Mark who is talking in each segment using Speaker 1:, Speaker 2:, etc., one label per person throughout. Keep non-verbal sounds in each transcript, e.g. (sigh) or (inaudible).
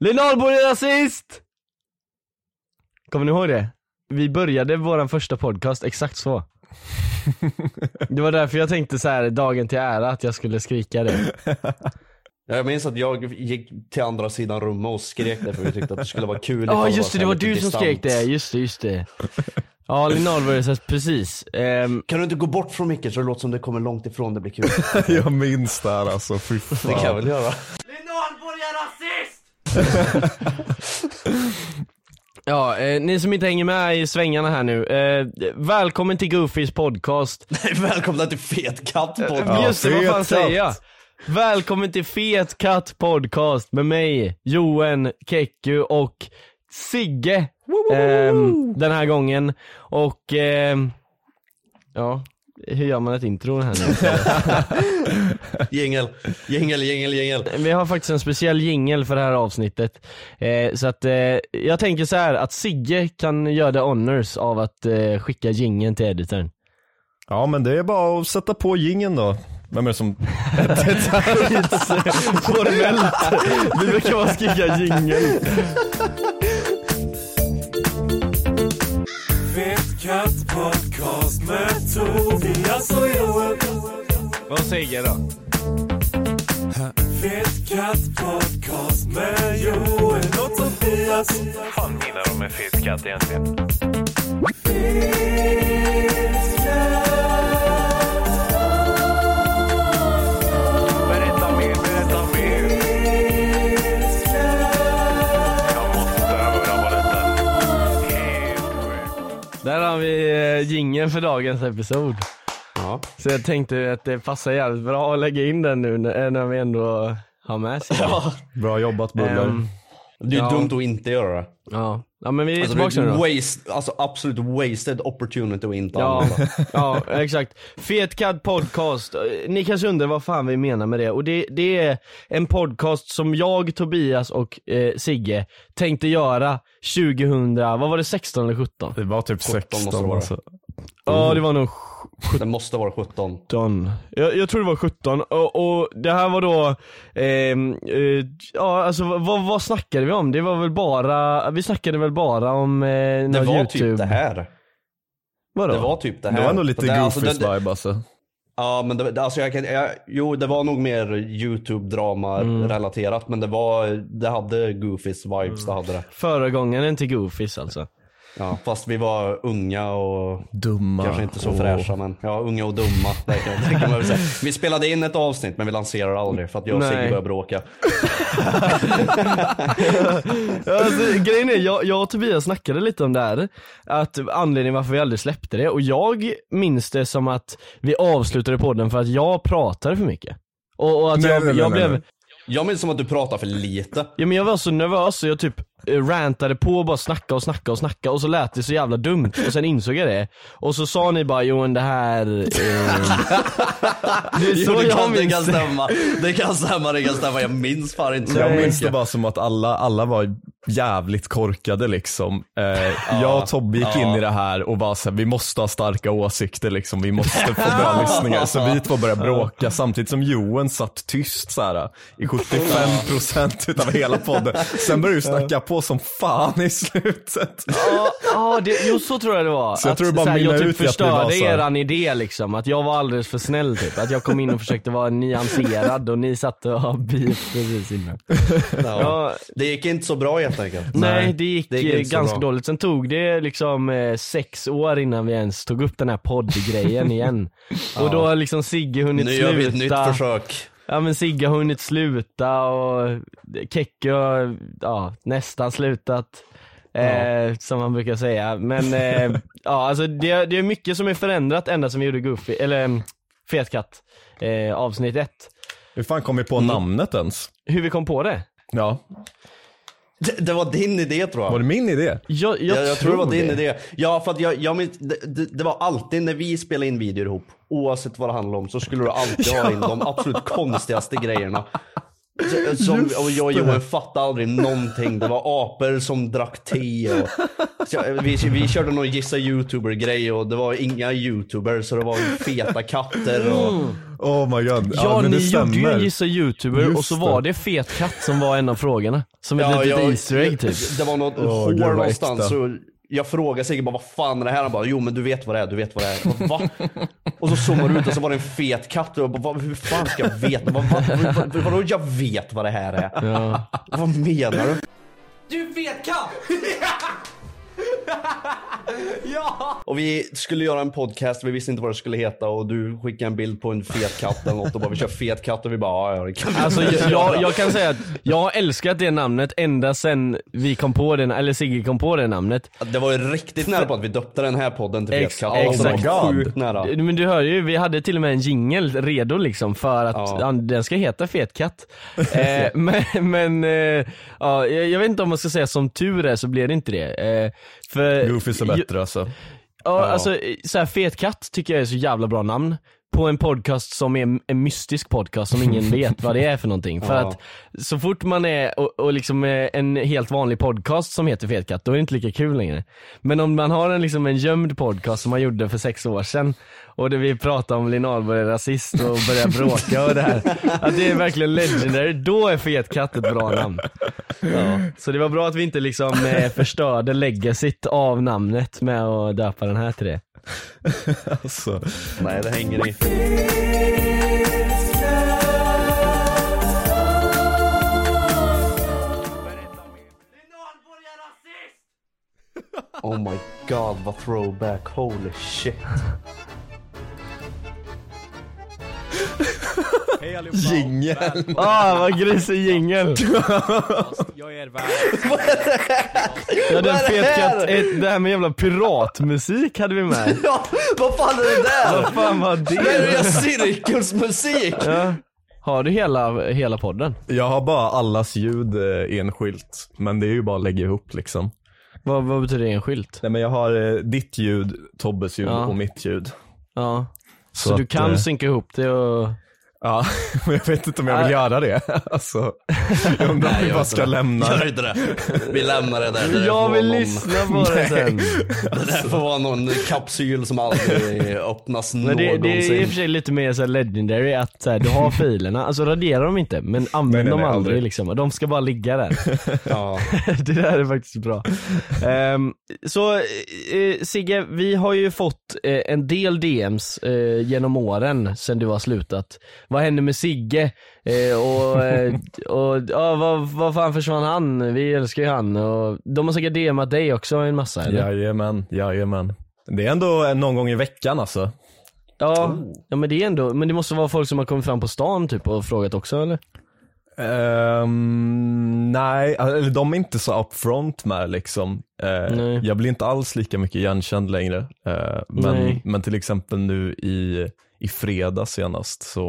Speaker 1: Lina Ahlborg är rasist! Kommer ni ihåg det? Vi började vår första podcast exakt så. (laughs) Det var därför jag tänkte så här dagen till ära att jag skulle skrika det.
Speaker 2: Ja, Jag minns att jag gick till andra sidan rummet och skrek det för vi tyckte att det skulle vara kul
Speaker 1: Ja
Speaker 2: ifall
Speaker 1: just det, det
Speaker 2: så här
Speaker 1: var
Speaker 2: lite
Speaker 1: du som
Speaker 2: distant.
Speaker 1: skrek det. Just det, just det. Ja, Lina Ahlborg är rasist, precis. Ehm,
Speaker 2: Kan du inte gå bort från micken så det låter som det kommer långt ifrån, det
Speaker 1: (laughs)
Speaker 2: blir kul.
Speaker 3: (laughs) Jag minns det här alltså, fy fan.
Speaker 2: Det kan jag väl göra.
Speaker 1: Ja, eh, ni som inte hänger med i svängarna här nu, eh, välkommen till Goofys podcast.
Speaker 2: Välkomna till Fet katt podcast.
Speaker 1: Just det, vad
Speaker 3: fet
Speaker 1: fan
Speaker 3: katt.
Speaker 1: säger jag? Välkommen till Fet Katt podcast med mig, Johan, Keku och Sigge. ehm, den här gången. Och, ehm, ja, hur gör man ett intro här
Speaker 3: (laughs)
Speaker 1: nu?
Speaker 2: Jingel, jingel, jingel, jingel.
Speaker 1: Vi har faktiskt en speciell jingel för det här avsnittet. Eh, så att eh, jag tänker så här att Sigge kan göra the honors av att eh, skicka jingeln till editorn.
Speaker 3: Ja men det är bara att sätta på gingen då. Vem är det som...
Speaker 1: Formellt. Vi brukar bara skrika jingel.
Speaker 4: Fet katt podcast med Tobias och Joel.
Speaker 1: Vad säger jag då?
Speaker 4: Fet katt podcast med Joel och Tobias. Fan menar de med fet katt egentligen? Berätta mer, berätta mer. Jag måste höra vad detta är. Helt sjukt.
Speaker 1: (laughs) Där har vi eh, jingeln för dagens episod.
Speaker 2: Ja.
Speaker 1: Så jag tänkte att det passar jävligt bra att lägga in den nu när, när vi ändå har med sig den.
Speaker 3: Bra jobbat Buller.
Speaker 1: Ehm,
Speaker 2: Det är
Speaker 1: Ja.
Speaker 2: dumt att inte göra det.
Speaker 1: ja. ja men vi är
Speaker 2: Alltså,
Speaker 1: tillbaka
Speaker 2: det
Speaker 1: nu
Speaker 2: är
Speaker 1: då.
Speaker 2: waste, alltså absolut wasted opportunity att inte
Speaker 1: Ja,
Speaker 2: använda.
Speaker 1: ja exakt. Fetkad podcast. Eh, Ni kanske undrar vad fan vi menar med det. Och det, det är en podcast som jag, Tobias och eh, Sigge tänkte göra 2000, vad var det, 16 eller 17?
Speaker 3: Det var typ
Speaker 2: 16
Speaker 3: 16
Speaker 2: vara.
Speaker 3: alltså.
Speaker 1: Ja det var nog
Speaker 2: Det måste vara 17.
Speaker 1: 17. Jag, jag tror det var 17 och, och det här var då, ehm, eh, ja alltså vad, vad snackade vi om? Det var väl bara, vi snackade väl bara om eh,
Speaker 2: Det
Speaker 1: någon
Speaker 2: var
Speaker 1: youtube?
Speaker 2: typ det här.
Speaker 1: Vadå?
Speaker 2: Det var typ det här.
Speaker 3: Det var ändå lite
Speaker 2: Det- alltså,
Speaker 3: goofies
Speaker 2: det- det-
Speaker 3: vibe alltså.
Speaker 2: Ja men det, alltså jag kan, jag, jo det var nog mer youtube-drama
Speaker 1: Mm.
Speaker 2: relaterat men det var, det hade goofies vibes, det
Speaker 1: Mm.
Speaker 2: hade det.
Speaker 1: Föregångaren till Goofies alltså.
Speaker 2: Ja, fast vi var unga och
Speaker 3: Dumma.
Speaker 2: kanske inte så
Speaker 3: och-
Speaker 2: fräscha men ja, unga och dumma. Det kan, det kan man väl säga. Vi spelade in ett avsnitt men vi lanserade aldrig för att jag och Sigge
Speaker 1: Nej.
Speaker 2: började bråka.
Speaker 1: alltså, grejen är, jag, jag och Tobias snackade lite om det här, att anledningen varför vi aldrig släppte det, och jag minns det som att vi avslutade podden för att jag pratade för mycket. Och, och att
Speaker 3: Nej,
Speaker 1: jag,
Speaker 3: nej, nej,
Speaker 1: jag
Speaker 3: nej,
Speaker 1: blev,
Speaker 3: nej.
Speaker 2: Jag minns som att du pratade för lite.
Speaker 1: ja men jag var så nervös så jag typ eh, rantade på och bara snacka och snacka och snacka och så lät det så jävla dumt och sen insåg jag det. Och så sa ni bara Johan det här...
Speaker 3: (laughs)
Speaker 1: Eh... det (laughs) är så
Speaker 2: Jo, det,
Speaker 1: jag
Speaker 2: kan, det
Speaker 1: minns
Speaker 2: kan
Speaker 1: det.
Speaker 2: stämma. Det kan stämma, det kan stämma. Jag minns fan inte så
Speaker 3: Jag
Speaker 2: jävla
Speaker 3: minns det
Speaker 2: mycket.
Speaker 3: bara som att alla, alla var jävligt korkade liksom. Eh, jag och Tobbe gick in i det här och bara såhär, vi måste ha starka åsikter liksom, vi måste
Speaker 1: (laughs)
Speaker 3: få bra lyssningar. Så vi två började bråka samtidigt som Johan satt tyst såhär i 75% utav hela podden. Sen började du snacka på som fan i slutet.
Speaker 1: Ja, ja, det- jo så tror jag det var.
Speaker 3: Så jag tror det bara
Speaker 1: såhär, jag
Speaker 3: mynnar ut
Speaker 1: typ
Speaker 3: i att det var
Speaker 1: förstörde
Speaker 3: så här-
Speaker 1: eran idé liksom, att jag var alldeles för snäll typ. Att jag kom in och försökte vara nyanserad och ni satt och (laughs) ha beef precis innan.
Speaker 2: Ja.
Speaker 1: Ja,
Speaker 2: Det gick inte så bra helt enkelt.
Speaker 1: nej det gick,
Speaker 2: det gick
Speaker 1: eh,
Speaker 2: inte så
Speaker 1: ganska
Speaker 2: bra.
Speaker 1: dåligt. Sen tog det liksom eh, sex år innan vi ens tog upp den här
Speaker 2: (laughs)
Speaker 1: poddgrejen igen. Och då har liksom Sigge hunnit
Speaker 2: Nu
Speaker 1: sluta.
Speaker 2: gör vi ett nytt försök.
Speaker 1: Ja men Sigge har hunnit sluta och Kekke har ja, nästan slutat. Eh, som man brukar säga. Men
Speaker 2: (laughs)
Speaker 1: eh, ja, alltså det, det är mycket som är förändrat ända som vi gjorde Goofy, eller mm, Fetkatt eh, avsnitt ett.
Speaker 3: Hur fan kom vi på
Speaker 1: Mm.
Speaker 3: namnet ens?
Speaker 1: Hur vi kom på det?
Speaker 3: Ja,
Speaker 2: Det, det var din idé tror jag.
Speaker 3: var det min idé?
Speaker 1: Jag, jag,
Speaker 2: Jag, jag, tror det var din idé. Ja, för att jag, jag minns, det, det, det var alltid när vi spelade in videor ihop, oavsett vad det handlade om, så skulle du alltid ha in de absolut konstigaste grejerna. Som, och jag och Johan fattade aldrig någonting. Det var apor som drack te. Och, så, jag- vi, vi körde någon gissa youtuber-grej och det var inga youtubers så det var feta katter. Och,
Speaker 3: Oh my god.
Speaker 1: Ja,
Speaker 3: men
Speaker 1: ni
Speaker 3: det
Speaker 1: gjorde ju en
Speaker 3: stämmer.
Speaker 1: gissa youtuber
Speaker 3: Just
Speaker 1: och så
Speaker 3: det.
Speaker 1: var det fet katt som var en av frågorna. Som ett litet easter
Speaker 3: (laughs)
Speaker 1: egg typ.
Speaker 2: Det var något hår
Speaker 3: gud, vad
Speaker 2: någonstans.
Speaker 3: äkta.
Speaker 2: Så jag frågade Sigge bara vad fan är det här? Han bara jo men du vet vad det är, du vet vad det är.
Speaker 3: (laughs)
Speaker 2: Jag Bara, Va? Och så zoomar du ut och så var det en fet katt. Och jag bara, "Vad- hur fan ska jag veta? Vad- vad- vad- vad- Vadå jag vet vad det här är? Vad menar du?
Speaker 5: Du vet
Speaker 2: (laughs)
Speaker 5: katt!
Speaker 2: Och vi skulle göra en podcast, vi visste inte vad det skulle heta och du skickade en bild på en fet katt eller något och bara vi kör fet katt och vi bara ja, ja det kan vi
Speaker 1: Alltså
Speaker 2: göra."
Speaker 1: jag, jag, jag kan säga att jag har älskat det namnet ända sen vi kom på det, eller Sigge kom på det namnet.
Speaker 2: Det var ju riktigt nära på att vi döpte den här podden till fet
Speaker 1: Ex-
Speaker 2: katt.
Speaker 1: exakt.
Speaker 2: Det var
Speaker 1: (laughs)
Speaker 2: sjukt nära.
Speaker 1: Men du hör ju, vi hade till och med en jingel redo liksom för att
Speaker 2: Ja.
Speaker 1: ja. den ska
Speaker 3: (laughs)
Speaker 1: heta Fetkatt. eh, men men eh, ja, jag jag vet inte om man ska säga som tur är så blev det inte det. Eh, för,
Speaker 3: Goofies är bättre alltså.
Speaker 1: Ja, alltså eh, så här, Fet katt tycker jag är så jävla bra namn. På en podcast som är en- en mystisk podcast som ingen vet vad det är för någonting. För
Speaker 2: Ja.
Speaker 1: att så fort man är och, och liksom eh, en helt vanlig podcast som heter Fet katt, då är det inte lika kul längre. Men om man har en, liksom en gömd podcast som man gjorde för sex år sedan och där vi pratar om Linn Ahlberg är rasist och börjar bråka och det här. Att det är verkligen legendary, då är Fet katt ett bra namn. Så det var bra att vi inte liksom eh, förstörde legacyt av namnet med att döpa den här till det.
Speaker 3: alltså.
Speaker 2: Nej det hänger i. Oh my god vad throwback, holy
Speaker 1: (laughs)
Speaker 2: shit.
Speaker 6: Hej allihopa! Jingel!
Speaker 1: Ah vad grisig jingel!
Speaker 6: Jag är er värd.
Speaker 1: Jag hade en
Speaker 2: Vad är det
Speaker 1: fet
Speaker 2: här?
Speaker 1: katt, ett, det här med jävla piratmusik hade vi med.
Speaker 2: Ja, vad fan är det där?
Speaker 1: Vad fan var
Speaker 2: Det är
Speaker 1: det?
Speaker 2: ju en cirkelsmusik!
Speaker 1: Har du hela, hela podden?
Speaker 3: Jag har bara allas ljud eh, enskilt. Men det är ju bara att lägga ihop liksom.
Speaker 1: Vad, vad betyder det enskilt?
Speaker 3: Nej men jag har eh, ditt ljud, Tobbes ljud
Speaker 1: Ja.
Speaker 3: och mitt ljud.
Speaker 1: Ja. Så,
Speaker 3: att,
Speaker 1: du kan
Speaker 3: eh,
Speaker 1: synka ihop det och...
Speaker 3: Ja, (laughs) men jag vet inte om jag vill göra det. (laughs) Alltså, jag undrar om vi bara ska lämna.
Speaker 2: Gör inte det. Vi lämnar det där. Det där
Speaker 1: Jag
Speaker 2: får
Speaker 1: vill
Speaker 2: vara någon-
Speaker 1: lyssna på det sen.
Speaker 2: Det där får vara någon kapsyl
Speaker 1: (laughs)
Speaker 2: som aldrig öppnas
Speaker 1: Men det,
Speaker 2: någonsin.
Speaker 1: det är i och för sig lite mer så här legendary att så här, du har filerna, alltså radera dem inte men använd
Speaker 3: nej,
Speaker 1: dem
Speaker 3: nej,
Speaker 1: aldrig,
Speaker 3: aldrig.
Speaker 1: liksom. De ska bara ligga där.
Speaker 2: Ja.
Speaker 1: (laughs) det där är faktiskt bra. Ehm, så eh, Sigge, vi har ju fått eh, en del DMs eh, genom åren sen du har slutat. Vad hände med Sigge? Eh, och eh, och ja, vad, vad fan försvann han? Vi älskar ju han. Och de har säkert DMat dig också en massa eller?
Speaker 3: Jajamän, jajamän. Det är ändå eh, någon gång i veckan alltså.
Speaker 1: Ja, ja men det är ändå, men det måste vara folk som har kommit fram på stan typ och frågat också eller?
Speaker 3: Ehm, nej, eller de är inte så upfront med liksom. Eh,
Speaker 1: Nej.
Speaker 3: jag blir inte alls lika mycket igenkänd längre. Eh, men,
Speaker 1: Nej.
Speaker 3: men till exempel nu i, i fredag senast så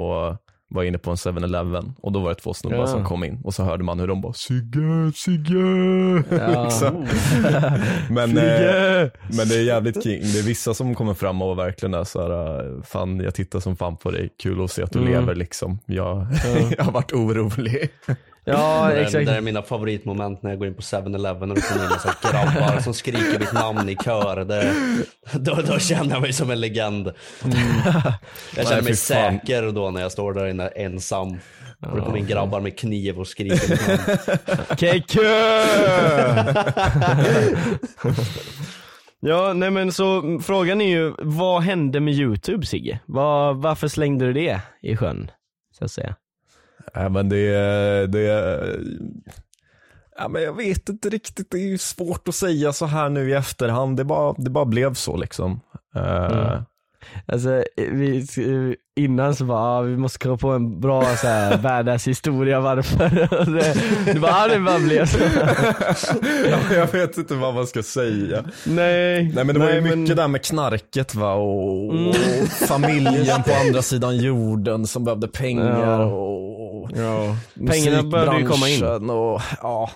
Speaker 3: var jag inne på en 7-Eleven och då var det två snubbar
Speaker 1: Ja.
Speaker 3: som kom in och så hörde man hur de bara Sigge, Sigge. (laughs) liksom.
Speaker 1: Mm.
Speaker 3: (laughs) men, eh, men det är jävligt king. Det är vissa som kommer fram och verkligen är så här, eh, fan jag tittar som fan på dig, kul att se att du
Speaker 1: Mm.
Speaker 3: lever liksom. Jag, (laughs) jag har varit orolig.
Speaker 1: (laughs)
Speaker 3: (laughs)
Speaker 1: Ja
Speaker 2: Det där,
Speaker 1: exakt.
Speaker 2: det där är mina favoritmoment när jag går in på 7-Eleven och det kommer in massa grabbar som skriker mitt namn i kör. Det, då, då känner jag mig som en legend. Jag
Speaker 3: Nej,
Speaker 2: känner mig
Speaker 3: fy fan.
Speaker 2: säker då när jag står där inne ensam. Och det kommer in grabbar med kniv och skriker mitt namn.
Speaker 1: Ja, nej men så mm, frågan är ju, vad hände med youtube Sigge? Var, varför slängde du det i sjön? Så att säga.
Speaker 3: Nej Äh, men det, det ja, men jag vet inte riktigt, det är ju svårt att säga så här nu i efterhand. Det bara, det bara blev så liksom. Eh,
Speaker 1: Alltså eh, vi, eh, innan så bara, ah, vi måste komma på en bra så här, (laughs) badass historia varför. (laughs) Och det, det bara, ah, det bara blev så.
Speaker 3: (laughs) ja, men jag vet inte vad man ska säga.
Speaker 1: Nej.
Speaker 3: Nej men det var ju mycket
Speaker 1: men- Mm.
Speaker 3: där med knarket va och, och familjen på andra sidan jorden som behövde pengar
Speaker 1: Ja.
Speaker 3: och
Speaker 1: Ja. Pengarna började ju komma in.
Speaker 3: musikbranschen Och, ja.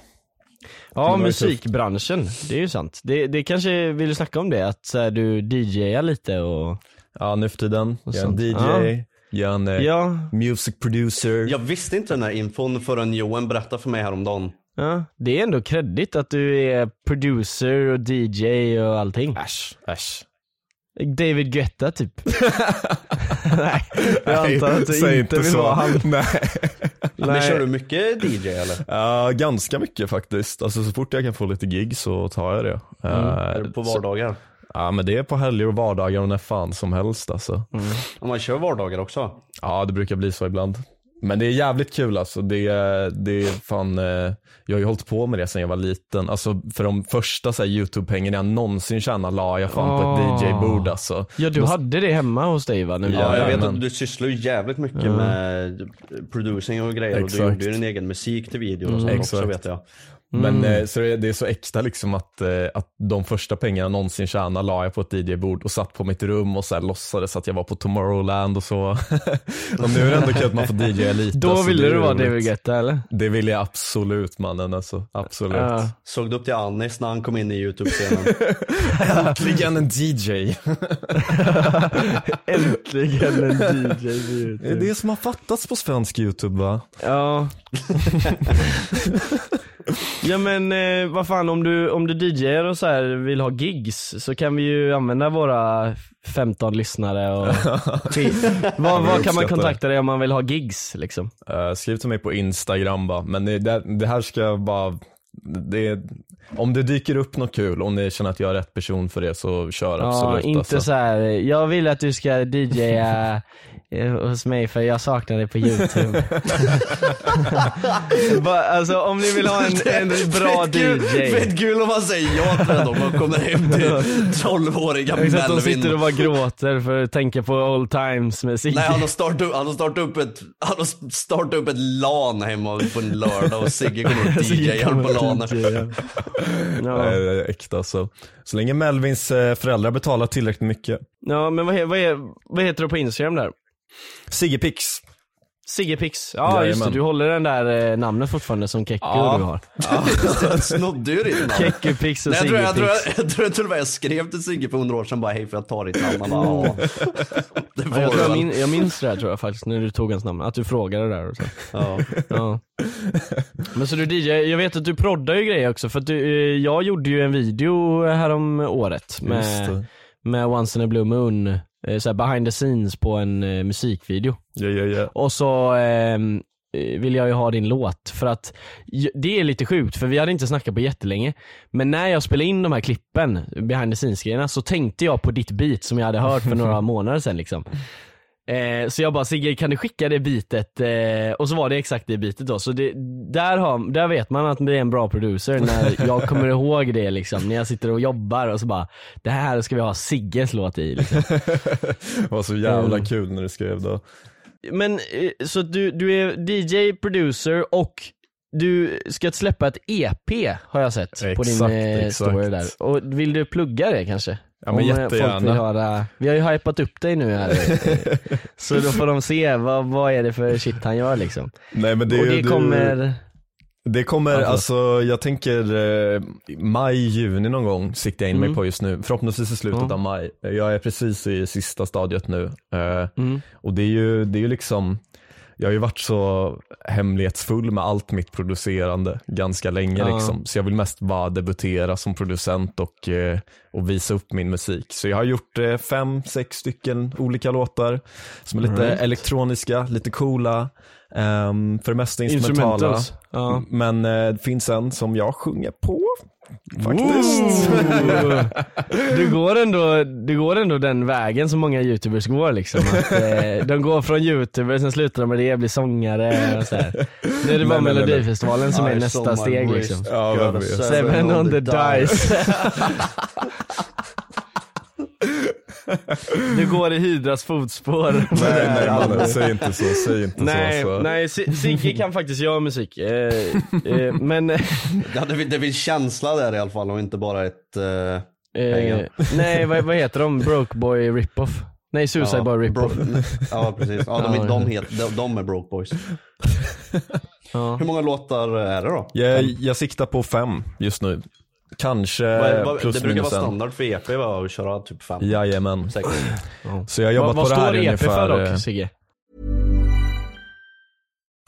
Speaker 1: Ja,
Speaker 3: ju
Speaker 1: musikbranschen. Det är ju sant. Det, det kanske, vill du snacka om det? Att så här, du DJar lite och
Speaker 3: ja, nu för tiden. Jag är en
Speaker 1: sånt.
Speaker 3: DJ,
Speaker 1: Ja.
Speaker 3: Jag är en eh,
Speaker 1: Ja,
Speaker 3: music producer.
Speaker 2: Jag visste inte den här infon förrän Johan berättade för mig häromdagen.
Speaker 1: ja, det är ändå kreddigt att du är producer och DJ och allting.
Speaker 3: Äsch, äsch.
Speaker 1: David Guetta typ. Nej, jag antar att du
Speaker 3: (laughs) säg
Speaker 1: inte vill vara han.
Speaker 3: Nej.
Speaker 2: Men
Speaker 1: Nej.
Speaker 2: kör du mycket DJ eller?
Speaker 3: Ja, ganska mycket faktiskt. Alltså så fort jag kan få lite gig så tar jag det. Eh,
Speaker 2: Är det på
Speaker 3: så-
Speaker 2: vardagar?
Speaker 3: Ja men det är på helger och vardagar och när fan som helst alltså.
Speaker 2: Om man kör vardagar också?
Speaker 3: Ja det brukar bli så ibland. Men det är jävligt kul alltså. Det, är- det är fan, eh, jag har ju hållit på med det sedan jag var liten. Alltså för de första så här, YouTube-pengarna jag någonsin tjänade la jag fan på ett
Speaker 1: Åh.
Speaker 3: DJ-bord alltså.
Speaker 1: Ja du hade det hemma hos dig va? Nu?
Speaker 2: Ja, jag vet
Speaker 3: Jajamän.
Speaker 2: att du sysslar ju jävligt mycket med producing och grejer och du
Speaker 3: Exakt. Mm.
Speaker 2: gjorde ju din egen musik till videor och sånt också
Speaker 3: Exakt.
Speaker 2: vet jag.
Speaker 1: Mm.
Speaker 3: Men eh, så det, är- det är så äkta liksom att, eh, att de första pengarna jag någonsin tjänade la jag på ett DJ-bord och satt på mitt rum och så här låtsades att jag var på Tomorrowland och så. (laughs) och nu är det ändå kul att man får DJa lite.
Speaker 1: Då
Speaker 3: så
Speaker 1: ville
Speaker 3: det är
Speaker 1: du vara
Speaker 3: roligt.
Speaker 1: David Guetta eller?
Speaker 3: Det vill jag absolut mannen alltså. Absolut.
Speaker 1: Ja.
Speaker 2: Såg du upp till Anis när han kom in
Speaker 1: (laughs)
Speaker 2: i YouTube-scenen?
Speaker 3: Äntligen en DJ.
Speaker 1: Äntligen en DJ
Speaker 3: Det
Speaker 1: i
Speaker 3: är
Speaker 1: YouTube.
Speaker 3: det som har fattats på svensk YouTube va? (laughs)
Speaker 1: Ja. ja men eh, vad fan om du, om du DJar och så här vill ha gigs så kan vi ju använda våra 15 lyssnare
Speaker 3: (laughs)
Speaker 1: och vad, vad kan
Speaker 3: uppskattar
Speaker 1: man
Speaker 3: det.
Speaker 1: kontakta dig om man vill ha gigs liksom?
Speaker 3: Eh, skriv till mig på Instagram va. Men det, det, det här ska jag bara, det, om det dyker upp något kul, om ni känner att jag är rätt person för det så kör absolut.
Speaker 1: ja, inte
Speaker 3: alltså.
Speaker 1: så här. jag vill att du ska DJa eh, hos mig för jag saknar dig
Speaker 3: (laughs)
Speaker 1: på youtube. (laughs) Bara, alltså om ni vill ha
Speaker 2: (laughs)
Speaker 1: en, en bra
Speaker 2: Fett kul-
Speaker 1: DJ.
Speaker 2: Fett kul om man säger ja till det då. Man kommer hem till 12-åriga
Speaker 1: Exakt, de
Speaker 2: Melvin.
Speaker 1: sitter och bara gråter för att tänka på old times musik.
Speaker 2: Nej,
Speaker 1: (laughs)
Speaker 2: han har, startat upp, han, har startat upp ett, han har startat upp ett LAN hemma på en lördag och Sigge kommer och DJar på LANet.
Speaker 1: ja.
Speaker 3: Ja. Eh, Äkta så. Så länge Melvins eh, föräldrar betalar tillräckligt mycket.
Speaker 1: ja, men vad, he- vad, he- vad heter du på Instagram där?
Speaker 3: Siggepix.
Speaker 1: Siggepix. Ja, just det.
Speaker 3: Jajamän.
Speaker 1: Du håller den där eh, namnet fortfarande som Kekko
Speaker 3: Ja.
Speaker 1: du har.
Speaker 2: Jag (laughs) Snodde ju ditt namn.
Speaker 1: Kekkupix och
Speaker 2: Nej, jag, tror, jag, tror,
Speaker 1: Siggepix.
Speaker 2: jag, jag tror till och med jag skrev till Sigge för hundra år sedan bara hej för jag tar ditt namn. Han bara, "Ja."
Speaker 1: Ja,
Speaker 2: det
Speaker 1: Jag,
Speaker 2: får
Speaker 1: tror
Speaker 2: du
Speaker 1: jag,
Speaker 2: väl.
Speaker 1: min, jag minns det här tror jag faktiskt, när du tog hans namn. Att du frågade där och så.
Speaker 2: Ja.
Speaker 1: Ja. Men så du DJ, jag vet att du proddar ju grejer också för att du, eh, jag gjorde ju en video härom året
Speaker 3: Just
Speaker 1: med,
Speaker 3: det.
Speaker 1: med Once in a Blue Moon, eh, så här behind the scenes på en eh, musikvideo.
Speaker 3: Ja, ja, ja.
Speaker 1: Och så ehm, eh, vill jag ju ha din låt för att j- det är lite sjukt för vi hade inte snackat på jättelänge. Men när jag spelade in de här klippen, behind the scenes grejerna, så tänkte jag på ditt beat som jag hade hört för några månader sedan liksom. Eh, så jag bara Sigge kan du skicka det bitet? Eh, och så var det exakt det bitet då. Så det, där, har, där vet man att det är en bra producer när jag kommer ihåg det liksom. När jag sitter och jobbar och så bara det här ska vi ha Sigges låt i liksom.
Speaker 3: Det var så jävla
Speaker 1: Mm.
Speaker 3: kul när du skrev då.
Speaker 1: Men eh, så att du, du är DJ, producer och du ska släppa ett EP har jag sett på din
Speaker 3: Exakt,
Speaker 1: eh,
Speaker 3: exakt.
Speaker 1: story där. Och vill du plugga det kanske?
Speaker 3: Ja, men
Speaker 1: Om, eh, Folk vill
Speaker 3: jättegärna.
Speaker 1: höra. Vi har ju hypat upp dig nu
Speaker 3: (laughs)
Speaker 1: här. eh, så då får de se vad, vad är det för shit han gör liksom.
Speaker 3: Nej, men det, eh,
Speaker 1: och det
Speaker 3: det-
Speaker 1: kommer,
Speaker 3: Det kommer,
Speaker 1: Alltså.
Speaker 3: alltså, jag tänker eh, maj, juni någon gång siktar jag in mig på just nu. Förhoppningsvis i slutet
Speaker 1: Mm. Ja.
Speaker 3: av maj. Jag är precis i sista stadiet nu. Eh,
Speaker 1: Mm.
Speaker 3: Och det är ju, det är ju liksom, jag har ju varit så hemlighetsfull med allt mitt producerande ganska länge
Speaker 1: Ja.
Speaker 3: liksom. Så jag vill mest bara debutera som producent och, eh, och visa upp min musik. Så jag har gjort eh, fem, sex stycken olika låtar som är lite
Speaker 1: Right.
Speaker 3: elektroniska, lite coola. ehm, för det mesta instrumentala.
Speaker 1: Instrumentals. Ja.
Speaker 3: Men eh, det finns en som jag sjunger på. Faktiskt.
Speaker 1: Ooh. Du går, ändå, du går ändå den vägen som många youtubers går liksom. Att, eh, de går från youtuber, sen slutar de med det, blir sångare och så här. Nu är det bara
Speaker 3: Nej, nej, nej, nej.
Speaker 1: melodifestivalen som är
Speaker 2: I saw
Speaker 1: nästa
Speaker 2: my
Speaker 1: steg
Speaker 2: waist
Speaker 1: liksom.
Speaker 3: Ja,
Speaker 2: got
Speaker 3: vem
Speaker 2: a
Speaker 3: vet.
Speaker 1: Seven on the dice. (laughs) Du går i Hydras fotspår.
Speaker 3: Nej, nej mannen, säg inte så, säg inte
Speaker 1: Nej,
Speaker 3: så. Alltså.
Speaker 1: nej, Si- Sigge kan faktiskt göra musik. Eh, eh, men
Speaker 2: Ja, det, finns- det finns känsla där i alla fall och inte bara ett... eh,
Speaker 1: Eh,
Speaker 2: Pengar.
Speaker 1: nej, vad, vad heter de? Brokeboy Ripoff? Nej, Suicide
Speaker 2: ja,
Speaker 1: Boy Ripoff.
Speaker 2: bro- (laughs) Ja precis, ja, de,
Speaker 1: Ja,
Speaker 2: är- de, heter, de, de är broke boys.
Speaker 1: Ja.
Speaker 2: Hur många låtar är det då?
Speaker 3: Jag, jag siktar på fem just nu. Kanske
Speaker 2: Vad är- vad-
Speaker 3: plus
Speaker 2: det brukar
Speaker 3: minus
Speaker 2: vara
Speaker 3: en.
Speaker 2: standard för EP va? att köra typ fem.
Speaker 3: Jajamän.
Speaker 2: Säkert.
Speaker 3: Så jag har jobbat
Speaker 1: Vad
Speaker 3: på det här
Speaker 1: står
Speaker 3: i
Speaker 1: EP för
Speaker 3: ungefär... eh,
Speaker 1: dock, Sigge?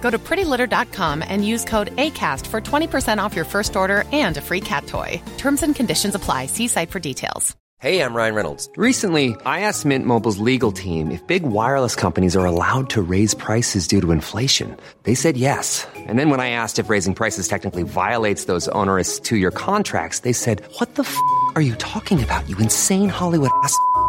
Speaker 7: Go to prettylitter.com and use code ACAST for 20% off your first order and a free cat toy. Terms and conditions apply. See site for details.
Speaker 8: Hey, I'm Ryan Reynolds. Recently, I asked Mint Mobile's legal team if big wireless companies are allowed to raise prices due to inflation. They said yes. And then when I asked if raising prices technically violates those onerous two year contracts, they said, What the f are you talking about, you insane Hollywood ass? f- a-"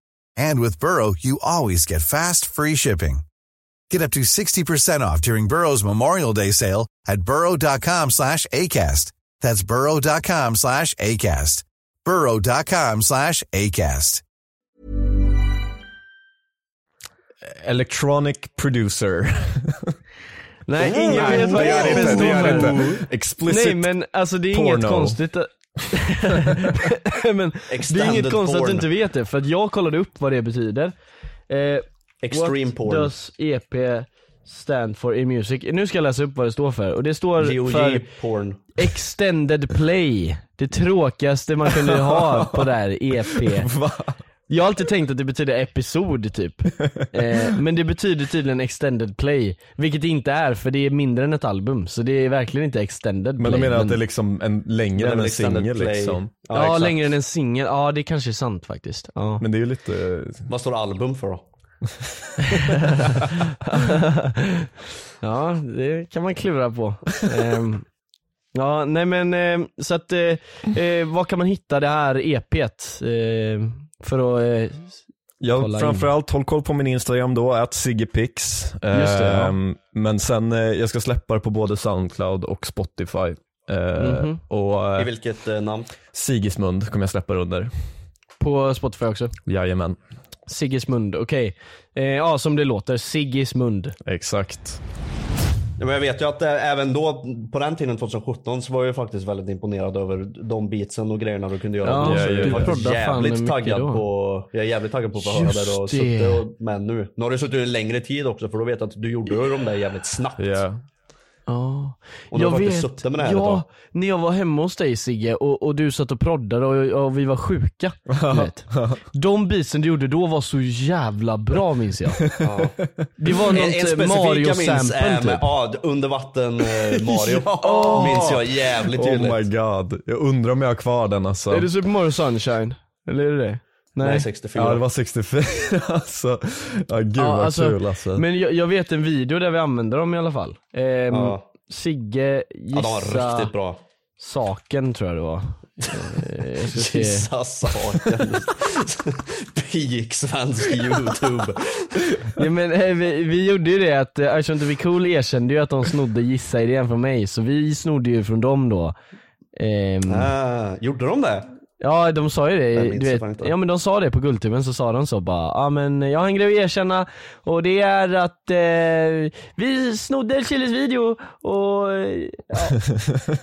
Speaker 9: And with Burrow, you always get fast, free shipping. Get up to 60% off during Burrow's Memorial Day sale at burrow.com slash ACAST. That's burrow.com slash ACAST. burrow.com slash ACAST.
Speaker 3: eh, Electronic producer.
Speaker 1: Nej, ingen
Speaker 3: Nej,
Speaker 1: vet vad E
Speaker 3: det gör det inte. Det gör det inte. Explicit.
Speaker 1: Nej men alltså det är inget
Speaker 3: porno.
Speaker 1: konstigt att... (laughs) men, det är
Speaker 2: Extended
Speaker 1: inget konstigt att
Speaker 2: porn.
Speaker 1: du inte vet det, för att jag kollade upp vad det betyder. Eh,
Speaker 2: Extreme
Speaker 1: what
Speaker 2: porn.
Speaker 1: does EP stand for in music? Nu ska jag läsa upp vad det står för, och det står för
Speaker 2: porn.
Speaker 1: extended play. Det tråkigaste man kunde
Speaker 3: (laughs)
Speaker 1: ha på det här EP.
Speaker 3: Va?
Speaker 1: Jag har alltid tänkt att det betyder episod typ.
Speaker 3: (laughs)
Speaker 1: Eh, men det betyder tydligen extended play. Vilket det inte är för det är mindre än ett album. Så det är verkligen inte extended
Speaker 3: Men de
Speaker 1: play.
Speaker 3: menar att det är liksom en, längre
Speaker 2: Men
Speaker 3: än en
Speaker 2: extended
Speaker 3: singel
Speaker 2: play.
Speaker 3: liksom.
Speaker 1: Ja,
Speaker 2: exakt.
Speaker 1: längre än en singel. Ja det kanske är sant faktiskt. Ja.
Speaker 3: Men det är ju lite,
Speaker 2: Vad står album för då?
Speaker 1: ja det kan man klura på. Ehm, ja nej men eh, så att eh, eh, var kan man hitta det här EPet? Eh, för att eh, Kolla
Speaker 3: Ja,
Speaker 1: in.
Speaker 3: framförallt håll koll på min Instagram då, att SiggePix.
Speaker 1: Just det, ja.
Speaker 3: Ehm, Men sen, eh, jag ska släppa det på både Soundcloud och Spotify. Eh,
Speaker 1: Mhm.
Speaker 3: Och
Speaker 2: I
Speaker 3: eh,
Speaker 2: vilket eh, namn?
Speaker 3: Sigismund kommer jag släppa det under.
Speaker 1: på Spotify också.
Speaker 3: Jajamän,
Speaker 1: Sigismund, okej. Eh, ja som det låter, Sigismund.
Speaker 3: exakt.
Speaker 2: Ja, men jag vet ju att eh, även då, på den tiden 2017, så var jag ju faktiskt väldigt imponerad över de beatsen och grejerna du kunde göra.
Speaker 1: Ja,
Speaker 2: då, så
Speaker 3: ja,
Speaker 2: jag
Speaker 3: ja.
Speaker 2: är
Speaker 3: Du
Speaker 2: faktiskt
Speaker 1: proddar fan
Speaker 2: jävligt
Speaker 1: mycket
Speaker 2: taggad
Speaker 1: då.
Speaker 2: på, jag är jävligt taggad på att få höra
Speaker 1: Just
Speaker 2: det. Då, och
Speaker 1: det.
Speaker 2: suttit och, men nu, nu har du suttit en längre tid också för då vet jag att du gjorde ju de där jävligt snabbt.
Speaker 3: Ja.
Speaker 1: Ja.
Speaker 2: Och du har faktiskt suttit med det här ett
Speaker 1: ja,
Speaker 2: tag.
Speaker 1: när jag var hemma hos dig Sigge och, och du satt och proddade och, och vi var sjuka. du vet. De beatsen du gjorde då var så jävla bra minns
Speaker 2: (laughs)
Speaker 1: jag. Det var
Speaker 2: En, en
Speaker 1: något eh,
Speaker 2: specifik jag minns är
Speaker 1: Mario-sample
Speaker 2: med
Speaker 1: typ.
Speaker 2: ja, under
Speaker 1: (laughs)
Speaker 2: vatten eh, Mario. Minns jag jävligt tydligt.
Speaker 3: Oh my god, jag undrar om jag har kvar den alltså.
Speaker 1: Är det Super Mario Sunshine? Eller är det det?
Speaker 2: Nej, 64.
Speaker 3: Ja det var 64 (laughs) alltså. Ja gud
Speaker 1: Ja,
Speaker 3: vad
Speaker 1: alltså,
Speaker 3: kul alltså.
Speaker 1: Men jag, jag vet en video där vi använder dem i alla fall. Ehm,
Speaker 2: Ja.
Speaker 1: Sigge
Speaker 2: ja, de var
Speaker 1: gissa
Speaker 2: riktigt bra.
Speaker 1: saken tror jag det var. Eh, jag ska se.
Speaker 2: Gissa
Speaker 1: (laughs)
Speaker 2: saken. Peak svensk youtube.
Speaker 1: Ja, men, eh, vi, vi gjorde ju det att, eh, eftersom inte vi cool erkände ju att de snodde gissa-idén från mig, så vi snodde ju från dem då. Ehm,
Speaker 2: Ah, gjorde de det?
Speaker 1: ja de sa ju
Speaker 2: Jag
Speaker 1: det,
Speaker 2: minns
Speaker 1: du
Speaker 2: det
Speaker 1: vet,
Speaker 2: fan inte.
Speaker 1: ja men de sa det på Guldtuben så sa de så bara, ja ah, men jag har en grej att erkänna och det är att eh, vi snodde Chiles video och eh,
Speaker 2: (laughs)
Speaker 1: ja.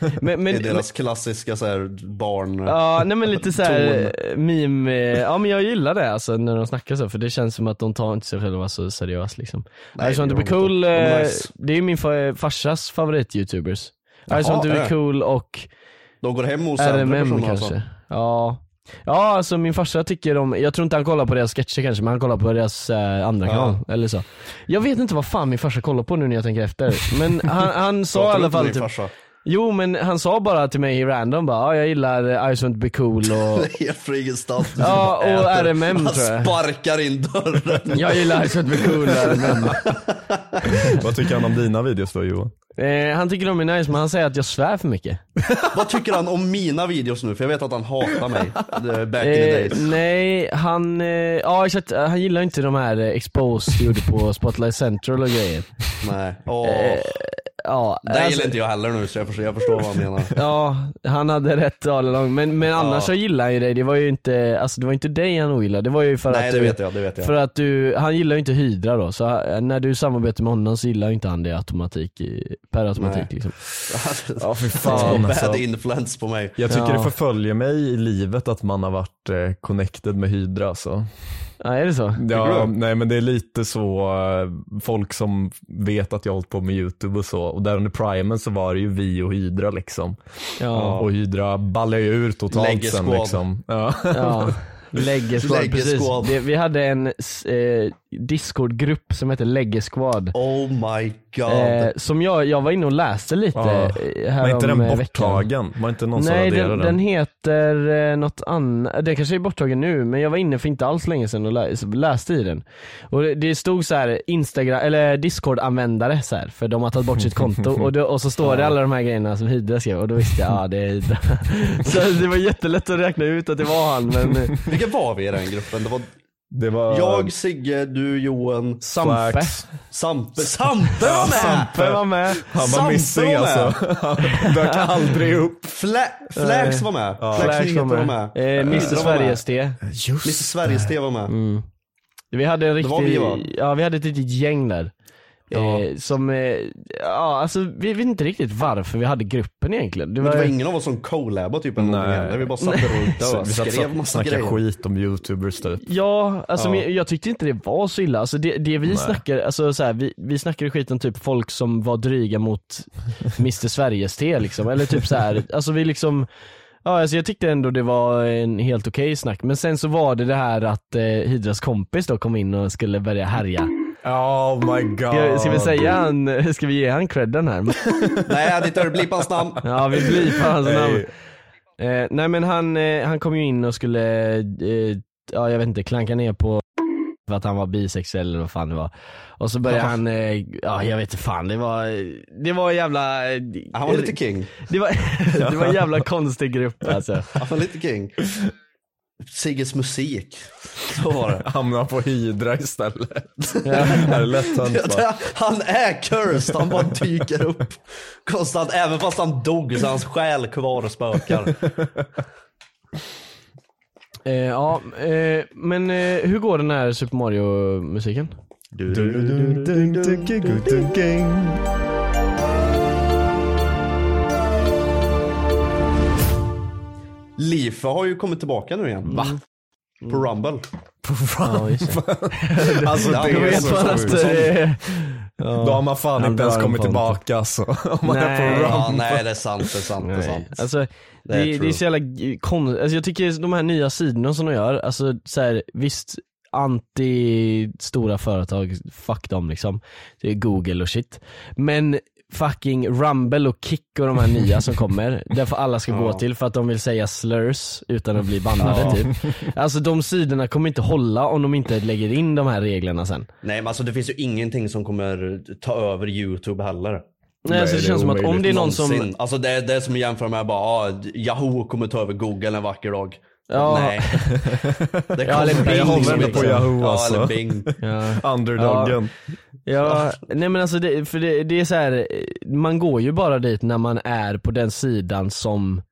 Speaker 1: men,
Speaker 2: Det
Speaker 1: men,
Speaker 2: är deras klassiska så här, barn...
Speaker 1: Ja, nej men lite såhär meme, eh, ja men jag gillar det alltså när de snackar så för det känns som att de tar inte sig själva så seriöst liksom.
Speaker 2: Nej,
Speaker 1: Ison
Speaker 2: det
Speaker 1: to be
Speaker 2: gör de
Speaker 1: cool,
Speaker 2: inte. De är
Speaker 1: eh,
Speaker 2: nice.
Speaker 1: det är ju min fa- farsas favorit-youtubers. Ison to
Speaker 2: är
Speaker 1: be
Speaker 2: det?
Speaker 1: cool och
Speaker 2: De går hem hos andra
Speaker 1: RMM
Speaker 2: personer
Speaker 1: kanske.
Speaker 2: alltså.
Speaker 1: Ja. ja, alltså min farsa tycker om, jag tror inte han kollar på deras sketcher kanske men han kollar på deras eh, andra kanal eller så.
Speaker 2: (laughs)
Speaker 1: Jag vet inte vad fan min farsa kollar på nu när jag tänker efter men han, han sa i
Speaker 2: Pratar du
Speaker 1: alla
Speaker 2: inte
Speaker 1: fall
Speaker 2: med din
Speaker 1: typ
Speaker 2: farsa? (laughs)
Speaker 1: Jo men han sa bara till mig random bara, "Ja, jag gillar I just want to be cool och
Speaker 2: Helt från ingenstans.
Speaker 1: Ja,
Speaker 2: (laughs)
Speaker 1: och RMM
Speaker 2: Han
Speaker 1: tror jag.
Speaker 2: sparkar in dörren.
Speaker 1: jag gillar I just want to be cool och RMM.
Speaker 3: Vad tycker han om dina videos då Johan?
Speaker 1: Eh, han tycker de är nice men han säger att jag svär för mycket.
Speaker 2: Vad tycker han om mina videos nu? För jag vet att han hatar mig. eh, Back in the
Speaker 1: Eh,
Speaker 2: days.
Speaker 1: nej, han, eh, ja exakt, eh, han gillar inte de här eh, Exposed gjorde på Spotlight Central och grejer.
Speaker 2: Nej. Åh.
Speaker 1: Eh, ja,
Speaker 2: det
Speaker 1: alltså-
Speaker 2: gillar inte jag heller nu så jag förstår, jag förstår vad
Speaker 1: (laughs)
Speaker 2: han menar.
Speaker 1: Ja, han hade rätt all along. Men, men annars så gillar han ju dig. Det var ju inte, alltså det var inte dig han ogillade. Det var ju för
Speaker 2: Nej
Speaker 1: att
Speaker 2: det
Speaker 1: du,
Speaker 2: vet jag, det vet jag.
Speaker 1: typ.
Speaker 2: (laughs)
Speaker 1: För att du, han gillar ju inte Hydra då. Så eh, när du samarbetar med honom så gillar ju inte han det automatik, i- per automatik
Speaker 2: Nej.
Speaker 1: liksom.
Speaker 2: Ja
Speaker 3: fy
Speaker 2: Så
Speaker 3: fan,
Speaker 2: bad
Speaker 3: alltså.
Speaker 2: influence på mig.
Speaker 3: Jag tycker
Speaker 1: Ja.
Speaker 3: det förföljer mig i livet att man har varit eh, connected med Hydra alltså. så.
Speaker 1: Ja, är det så?
Speaker 3: Ja,
Speaker 2: du?
Speaker 3: nej men det är lite så, eh, folk som vet att jag har hållit på med YouTube och så, och där under primen så var det ju vi och Hydra liksom.
Speaker 1: Ja.
Speaker 3: Och Hydra ballar ju ur totalt
Speaker 2: Lägger
Speaker 3: sen
Speaker 2: squad.
Speaker 3: liksom. Ja.
Speaker 1: ja. Läggeskvad, precis.
Speaker 2: Läggeskvad.
Speaker 1: Det, vi hade en s- eh, discord-grupp som hette Läggeskvad.
Speaker 2: Oh my god.
Speaker 1: Eh, som jag, jag var inne och läste lite
Speaker 3: Ja.
Speaker 1: eh,
Speaker 3: Var
Speaker 1: här
Speaker 3: inte
Speaker 1: om,
Speaker 3: den
Speaker 1: eh, veckan.
Speaker 3: borttagen? Var inte någon som
Speaker 1: Nej
Speaker 3: raderade
Speaker 1: den, den heter eh, något annat, den kanske är borttagen nu men jag var inne för inte alls länge sedan och lä- läste i den. Och det, det stod så här Instagram, eller discord-användare så här, för de har tagit bort sitt konto
Speaker 3: (laughs)
Speaker 1: och, det, och så står det alla de här grejerna som Hydra skrev och då visste jag, ja ah, det är Hydra. (laughs) så det var jättelätt att räkna ut att det var han men eh,
Speaker 2: Vilka var vi i den gruppen? Det var
Speaker 3: Det var
Speaker 2: jag, Sigge, du, Johan,
Speaker 1: Sampe.
Speaker 3: Flax.
Speaker 2: Sampe. Sampe var med!
Speaker 1: Sampe var med.
Speaker 3: Han
Speaker 2: Sampe
Speaker 3: var missing
Speaker 2: var med.
Speaker 3: alltså. Han dök aldrig upp.
Speaker 2: Fla- Flax var med. Flax
Speaker 1: Flash
Speaker 2: Nyheter var med.
Speaker 1: Eh, Mr
Speaker 2: Hydra var med.
Speaker 1: Sveriges T.
Speaker 2: Mr Sveriges T var med.
Speaker 1: Vi hade en
Speaker 2: var
Speaker 1: riktig,
Speaker 2: vi, va?
Speaker 1: ja vi hade ett litet gäng där. Eh, som, eh, ja alltså vi vet inte riktigt varför vi hade gruppen egentligen. Det
Speaker 2: Men
Speaker 1: var,
Speaker 2: det var ingen av oss som collabade typ eller någonting
Speaker 3: Nej.
Speaker 2: heller. Vi bara satt runt där
Speaker 3: Så
Speaker 2: och
Speaker 3: vi satt
Speaker 2: skrev
Speaker 3: och
Speaker 2: massa
Speaker 3: snackade
Speaker 2: grejer.
Speaker 3: skit om youtubers typ.
Speaker 1: Ja, alltså
Speaker 3: Ja.
Speaker 1: Men jag tyckte inte det var så illa. Alltså det, det vi snackade, alltså så här, vi, vi snackade skit om typ folk som var dryga mot Mr Sveriges T liksom. Eller typ så här, alltså vi liksom Ja, alltså jag tyckte ändå det var en helt okej snack, men sen så var det det här att eh, Hydras kompis då kom in och skulle börja härja.
Speaker 3: Oh my god.
Speaker 1: Ska, ska vi säga han, (laughs) ska vi ge han credden här?
Speaker 2: Nej, det är blipp hans namn.
Speaker 1: Ja vi blipar hans namn. Eh, nej men han, eh, han kom ju in och skulle, eh, ja jag vet inte, klanka ner på för att han var bisexuell eller vad fan det var. Och så började han, eh, ja jag vet inte fan, det var, det var en jävla eh,
Speaker 2: Han var lite king.
Speaker 1: Det
Speaker 2: (laughs)
Speaker 1: var, det var en jävla konstig grupp alltså.
Speaker 2: Han var lite king. Sigges musik. Så var det.
Speaker 3: Hamna på Hydra istället. Det är lätt hänt
Speaker 2: (laughs)
Speaker 3: va?
Speaker 2: Han är cursed, han bara dyker upp konstant. Även fast han dog så är hans själ kvar och spökar.
Speaker 1: Eh, ja, eh, men eh, hur går den här Super Mario musiken?
Speaker 2: Lifa har ju kommit tillbaka nu igen. Va? På Rumble.
Speaker 1: Ja, just Mm. det.
Speaker 3: Alltså det
Speaker 1: Jag
Speaker 3: är
Speaker 1: vet
Speaker 3: så
Speaker 1: fan
Speaker 3: sjukt.
Speaker 1: att, eh,
Speaker 3: Då har man fan
Speaker 1: Han
Speaker 3: inte ens
Speaker 1: drar
Speaker 3: kommit
Speaker 1: en pont.
Speaker 3: tillbaka alltså. (laughs) Om man är
Speaker 1: Nej.
Speaker 3: på
Speaker 2: Ja,
Speaker 3: Rumble.
Speaker 2: nej det är sant, det är sant, det är sant.
Speaker 1: Alltså, det,
Speaker 2: är
Speaker 1: det, är
Speaker 2: true.
Speaker 1: så jävla konstigt, alltså, jag tycker de här nya sidorna som de gör, alltså så här, visst anti stora företag, fuck dem liksom. Det är Google och shit. Men fucking Rumble och Kick och de här nya som
Speaker 2: (laughs)
Speaker 1: kommer, därför alla ska gå till för att de vill säga slurs utan att bli bannade typ. Alltså de sidorna kommer inte hålla om de inte lägger in de här reglerna sen.
Speaker 2: Nej men alltså det finns ju ingenting som kommer ta över YouTube heller.
Speaker 1: Nej, alltså, det,
Speaker 3: det är
Speaker 1: känns som att om
Speaker 3: omöjligt.
Speaker 1: det är någon som
Speaker 2: Någonsin. Alltså det, det är som att jämföra med bara, ah, Yahoo kommer ta över Google en vacker dag.
Speaker 1: Ja. (laughs)
Speaker 2: Nej. Det
Speaker 1: Ja, eller Bing
Speaker 3: Jag håller ändå
Speaker 1: liksom.
Speaker 3: på Yahoo
Speaker 2: Ja,
Speaker 3: alltså.
Speaker 1: (laughs)
Speaker 2: eller Bing.
Speaker 3: Underdogen.
Speaker 1: Ja, nej men alltså det, för det, det är så här, eh, man går ju bara dit när man är på den sidan som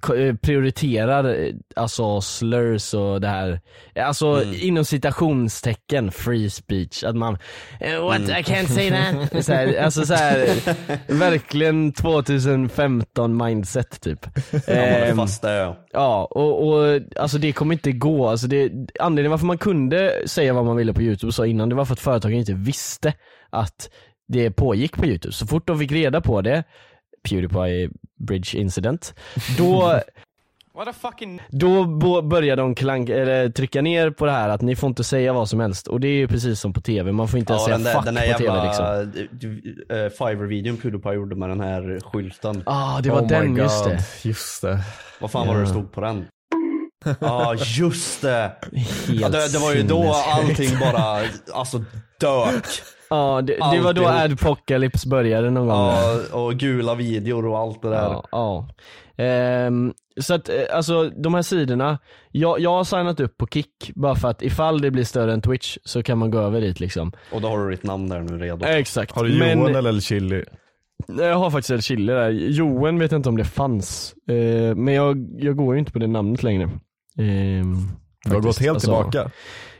Speaker 1: ko- eh, prioriterar eh, alltså slurs och det här, alltså
Speaker 2: Mm.
Speaker 1: inom citationstecken free speech. Att man, eh, what I can't say
Speaker 2: Mm.
Speaker 1: that. Så här, alltså så
Speaker 2: (laughs)
Speaker 1: här, verkligen 2015 mindset typ.
Speaker 2: Ja,
Speaker 1: Ehm,
Speaker 2: fast det är jag.
Speaker 1: Ja, och, och alltså det kommer inte gå. Alltså det, anledningen varför man kunde säga vad man ville på youtube så innan, det var för att företagen inte visste att det pågick på youtube. Så
Speaker 2: (laughs)
Speaker 1: fort de fick reda på det, Pewdiepie Bridge incident, då
Speaker 6: What a fucking...
Speaker 1: Då bo- börjar de klank, eller, trycka ner på det här att ni får inte säga vad som helst och det är ju precis som på tv, man får inte ens säga
Speaker 2: den där,
Speaker 1: fuck
Speaker 2: den där
Speaker 1: på tv
Speaker 2: jävla
Speaker 1: liksom.
Speaker 2: eh, Fiverr-videon Kudopaj gjorde med den här skylten.
Speaker 1: Ah, det var Oh den, my just God. det.
Speaker 3: Just det.
Speaker 2: Vad fan var det det
Speaker 1: Ja.
Speaker 2: stod
Speaker 1: (laughs)
Speaker 2: på den? Ja, ah, just det.
Speaker 1: Helt
Speaker 2: Ja, det, det var ju då
Speaker 1: sinnessjukt.
Speaker 2: allting bara, alltså dök.
Speaker 1: (laughs) Ja, det, det var då
Speaker 2: Alltihop.
Speaker 1: Adpocalypse började någon gång.
Speaker 2: Ja, och gula videor och allt det där.
Speaker 1: Ja, ja. Ehm, så att eh, alltså de här sidorna, jag, jag har signat upp på Kik bara för att ifall det blir större än Twitch så kan man gå över dit liksom.
Speaker 2: Och då har du ditt namn där nu redo.
Speaker 1: Exakt.
Speaker 3: Har du
Speaker 1: Men-
Speaker 3: Johan eller El Chili?
Speaker 1: Nej, Jag har faktiskt El Chili där. Joen vet jag inte om det fanns. Eh, men jag, jag går ju inte på det namnet längre. Ehm,
Speaker 3: Du har gått
Speaker 1: faktiskt.
Speaker 3: helt
Speaker 1: Alltså,
Speaker 3: tillbaka.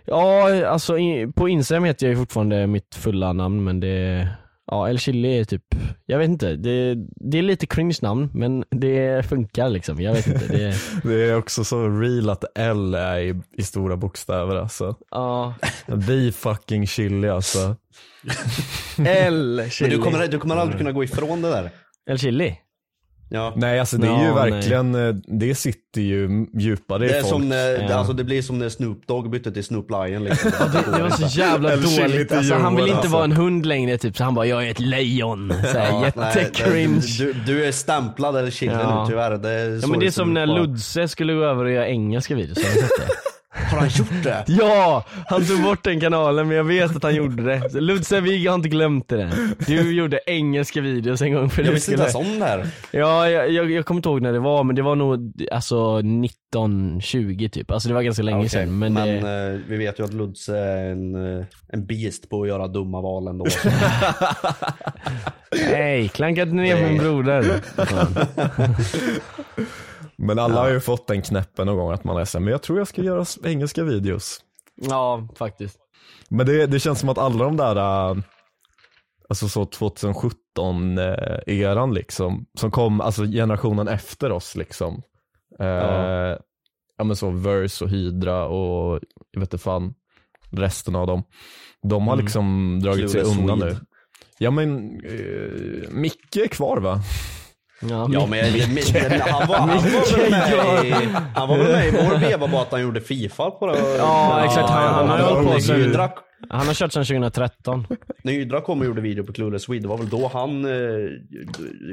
Speaker 1: Ja, alltså i- på Instagram heter jag ju fortfarande mitt fulla namn men det Ja, El Chili är typ, jag vet inte, det, det är lite cringe namn men det funkar liksom, jag vet inte.
Speaker 3: (laughs)
Speaker 1: Det,
Speaker 3: Det är också så real att L är i, i stora bokstäver alltså.
Speaker 1: ja.
Speaker 3: The fucking chili alltså.
Speaker 1: El
Speaker 2: Men
Speaker 1: Chili.
Speaker 2: du kommer, du kommer aldrig kunna gå ifrån det där.
Speaker 1: El Chili?
Speaker 2: Ja.
Speaker 3: Nej alltså det är ju
Speaker 1: Ja, nej.
Speaker 3: verkligen, eh, det sitter ju djupare
Speaker 2: Det,
Speaker 3: i
Speaker 2: är
Speaker 3: folk.
Speaker 2: som, när-
Speaker 1: Ja.
Speaker 2: alltså, det blir som när Snoop Dogg bytte till Snoop Lion. Liksom.
Speaker 1: (laughs) Det, det var så jävla
Speaker 3: El Chili
Speaker 1: dåligt,
Speaker 3: till
Speaker 1: alltså, han vill
Speaker 3: Joel,
Speaker 1: inte
Speaker 3: alltså.
Speaker 1: vara en hund längre typ, så han bara 'jag är ett lejon' Såhär
Speaker 2: Nej,
Speaker 1: jättecringe.
Speaker 2: Du, du är stämplad eller chili
Speaker 1: Ja.
Speaker 2: nu tyvärr. Det är
Speaker 1: Ja
Speaker 2: så
Speaker 1: men det är
Speaker 2: ser
Speaker 1: som
Speaker 2: ut
Speaker 1: när
Speaker 2: bara.
Speaker 1: Ludse skulle gå över och göra engelska videos, har ni sett det?
Speaker 2: Har han gjort det?
Speaker 1: (laughs) Ja! Han tog bort den kanalen men jag vet att han gjorde det. Så Ludse, vi har inte glömt det. än. Du gjorde engelska videos en gång för
Speaker 2: (laughs) Jag
Speaker 1: du
Speaker 2: visste inte
Speaker 1: skulle...
Speaker 2: ens om det här.
Speaker 1: Ja, jag, jag, jag kommer inte ihåg när det var men det var nog alltså 1920 typ. Alltså det var ganska länge
Speaker 2: Okej,
Speaker 1: sedan. Men,
Speaker 2: Men
Speaker 1: det...
Speaker 2: eh, vi vet ju att Lutz är en, eh, en beast på att göra dumma
Speaker 1: (laughs)
Speaker 2: val ändå.
Speaker 1: Nej, klankade ner på min broder.
Speaker 3: Men alla har ju fått den knäppen någon gång att man är såhär, men jag tror jag ska göra s- engelska videos.
Speaker 1: Ja, faktiskt.
Speaker 3: Men det, det känns som att alla de där, äh, alltså så 2017-eran liksom, som kom, alltså generationen efter oss liksom. Eh, ja.
Speaker 2: Ja.
Speaker 3: men så Verse och Hydra och jag vet inte fan, resten av dem. De har
Speaker 1: Mm.
Speaker 3: liksom dragit sig
Speaker 2: Clueless
Speaker 3: undan
Speaker 2: Swede.
Speaker 3: nu. Ja men, eh, Micke är kvar va?
Speaker 1: Ja,
Speaker 2: Ja men men- men han var, han var väl med i, han var väl med i vår veva bara att han gjorde Fifa på det.
Speaker 1: Ja, exakt. Han- han har hållit på sen-
Speaker 2: Nydra,
Speaker 1: Han har kört sedan 2013.
Speaker 2: Nydra kom och gjorde video på Clueless Swede. Det var väl då han eh,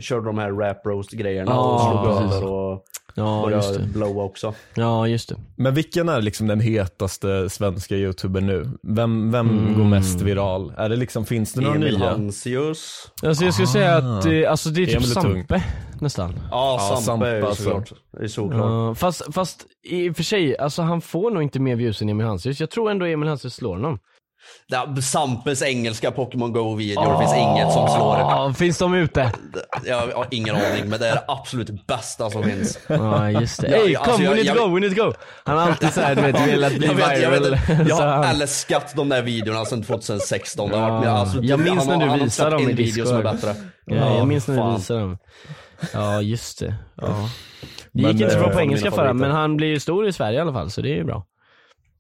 Speaker 2: körde de här rap roast grejerna och
Speaker 1: Ja,
Speaker 2: slog
Speaker 1: precis.
Speaker 2: över och
Speaker 1: Ja, just
Speaker 2: började
Speaker 1: det.
Speaker 2: blowa också.
Speaker 1: Ja, just det.
Speaker 3: Men vilken är liksom den hetaste svenska youtubern nu? Vem, vem går mest viral? Är det liksom, finns det några
Speaker 2: Emil
Speaker 3: nya?
Speaker 2: Hansius.
Speaker 1: Alltså jag skulle säga att eh, alltså, det är typ
Speaker 3: Emil är tung.
Speaker 1: Sampe nästan.
Speaker 2: Ja,
Speaker 3: Ja,
Speaker 2: Sampe är
Speaker 3: Sampe,
Speaker 2: ju såklart. Det är såklart.
Speaker 1: alltså. Ja, fast, fast i och för sig, alltså han får nog inte mer views än Emil Hansius. Jag tror ändå Emil Hansius slår honom.
Speaker 2: Ja, Sampes engelska Pokémon Go-videor, det finns
Speaker 1: Ah.
Speaker 2: inget som slår det.
Speaker 1: Ja, finns de ute?
Speaker 2: Jag har ingen aning, men det är det absolut bästa som finns.
Speaker 1: Ja, just det.
Speaker 2: Ja,
Speaker 1: Ey,
Speaker 2: alltså,
Speaker 1: kom,
Speaker 2: jag-
Speaker 1: we need
Speaker 2: jag-
Speaker 1: to go, we need to go. Han har alltid såhär, du vet, velat bli
Speaker 2: Jag, vet, jag,
Speaker 1: viral.
Speaker 2: vet, inte.
Speaker 1: (laughs)
Speaker 2: jag
Speaker 1: Så
Speaker 2: har
Speaker 1: han-
Speaker 2: älskat de där videorna sedan 2016. Det har varit,
Speaker 1: Ja.
Speaker 2: alltså,
Speaker 1: Ah. Jag minns
Speaker 2: han har-
Speaker 1: när du
Speaker 2: han har
Speaker 1: visade
Speaker 2: släppt
Speaker 1: dem
Speaker 2: en
Speaker 1: i
Speaker 2: video som är
Speaker 1: Discord.
Speaker 2: bättre.
Speaker 1: ja, jag minns när
Speaker 2: fan.
Speaker 1: du visade dem. Ja, just det. Ja. Det
Speaker 3: Men,
Speaker 1: gick inte så bra
Speaker 3: eh,
Speaker 1: på engelska
Speaker 2: mina
Speaker 1: för honom,
Speaker 2: favoriter.
Speaker 1: men han blir ju stor i Sverige i alla fall, så det är ju bra.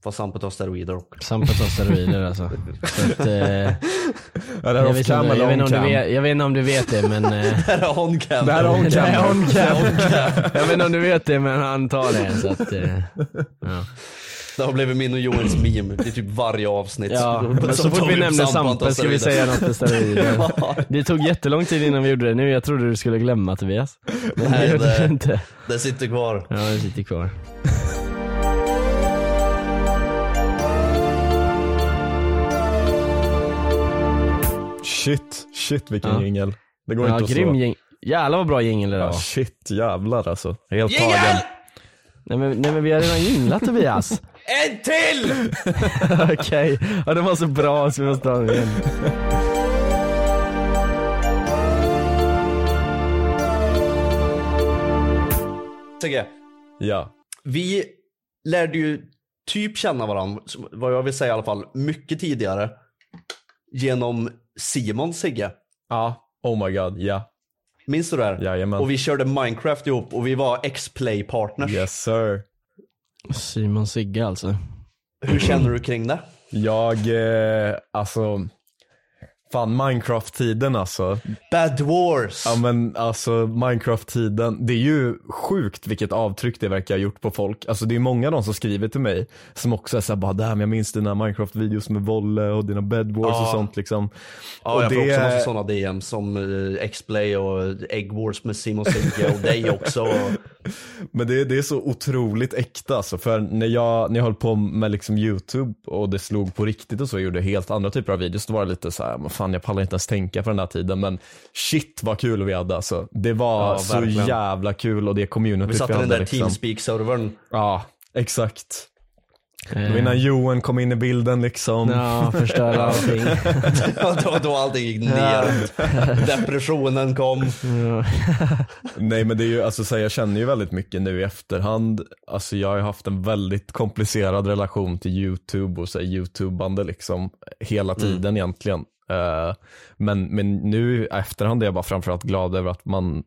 Speaker 2: Fast Sampe tar steroider och...
Speaker 1: Sampe tar steroider alltså. Så att, eh,
Speaker 3: Är det
Speaker 1: jag,
Speaker 3: off
Speaker 1: vet inte,
Speaker 3: cam eller
Speaker 1: jag, vet inte
Speaker 3: on
Speaker 1: om du
Speaker 3: cam?
Speaker 1: vet, jag vet inte om du vet det, men... Eh,
Speaker 2: Det här är on cam.
Speaker 3: Det här är on
Speaker 1: Det
Speaker 3: cam.
Speaker 1: är on cam. Jag vet inte om du vet det men han tar det så att, eh, ja.
Speaker 2: Det har blivit min och Johans meme i typ varje avsnitt.
Speaker 1: ja. Men så
Speaker 2: (laughs) Som tar
Speaker 1: fort vi
Speaker 2: upp
Speaker 1: nämner
Speaker 2: Sampe, han tar
Speaker 1: Sampe ska vi
Speaker 2: steroider.
Speaker 1: säga något till steroider. Det tog jättelång tid innan vi gjorde det nu, jag trodde du skulle glömma Tobias. Men det
Speaker 2: Nej,
Speaker 1: gjorde
Speaker 2: det-
Speaker 1: du inte.
Speaker 2: Det sitter kvar.
Speaker 1: Ja, det sitter kvar.
Speaker 3: Shit, shit vilken
Speaker 1: Ja.
Speaker 3: jingel. Det går
Speaker 1: Ja,
Speaker 3: inte att
Speaker 1: grym
Speaker 3: slå.
Speaker 1: gäng. Jävlar vad bra jingel idag.
Speaker 3: Ja, shit jävlar alltså. Helt tagen.
Speaker 1: Nej men, nej men vi har redan jinglat Tobias.
Speaker 2: En till!
Speaker 1: (laughs) Okej, ja, den var så bra så vi måste ta den igen.
Speaker 2: Sigge,
Speaker 3: Ja.
Speaker 2: vi lärde ju typ känna varandra, vad jag vill säga i alla fall, mycket tidigare. Genom Simon Sigge.
Speaker 3: Ja. Oh my god, ja.
Speaker 2: Minns du det här?
Speaker 3: Jajamän.
Speaker 2: Och vi körde Minecraft ihop och vi var X-play partners.
Speaker 3: Yes sir.
Speaker 1: Simon Sigge alltså.
Speaker 2: Hur känner du kring det?
Speaker 3: Jag, eh, alltså. Fan Minecraft-tiden alltså.
Speaker 2: Bad Wars.
Speaker 3: Ja men alltså Minecraft-tiden, det är ju sjukt vilket avtryck det verkar ha gjort på folk. Alltså det är många av dem som skriver till mig som också är såhär bara damn jag minns dina Minecraft-videos med Volle och dina Bed Wars
Speaker 2: Ja.
Speaker 3: och sånt liksom.
Speaker 2: Ja,
Speaker 3: och
Speaker 2: jag får också massa sådana DM som eh, X-Play och Egg Wars med Simon Sigge och (laughs) dig också. Och...
Speaker 3: Men det, det är så otroligt äkta alltså, för när jag, när jag höll på med liksom YouTube och det slog på riktigt och så, jag gjorde helt andra typer av videos, då var det lite så här, men fan jag pallar inte ens tänka på den här tiden, men shit vad kul vi hade alltså. Det var
Speaker 2: Ja,
Speaker 3: så
Speaker 2: verkligen.
Speaker 3: jävla kul och det community
Speaker 2: Vi satt i den där
Speaker 3: liksom.
Speaker 2: (laughs) Teamspeak-servern.
Speaker 3: Ja, exakt. Det var
Speaker 2: Mm.
Speaker 3: innan Johan kom in i bilden liksom.
Speaker 1: Eh, (laughs) Ja,
Speaker 2: (laughs)
Speaker 1: förstöra allting.
Speaker 2: då, då allting gick ner. Depressionen kom.
Speaker 3: Nej men det är ju, alltså så här, jag känner ju väldigt mycket nu i efterhand. Alltså jag har ju haft en väldigt komplicerad relation till YouTube och så här, YouTubande liksom hela tiden egentligen. Eh, men, men nu i efterhand är jag bara framförallt glad över att man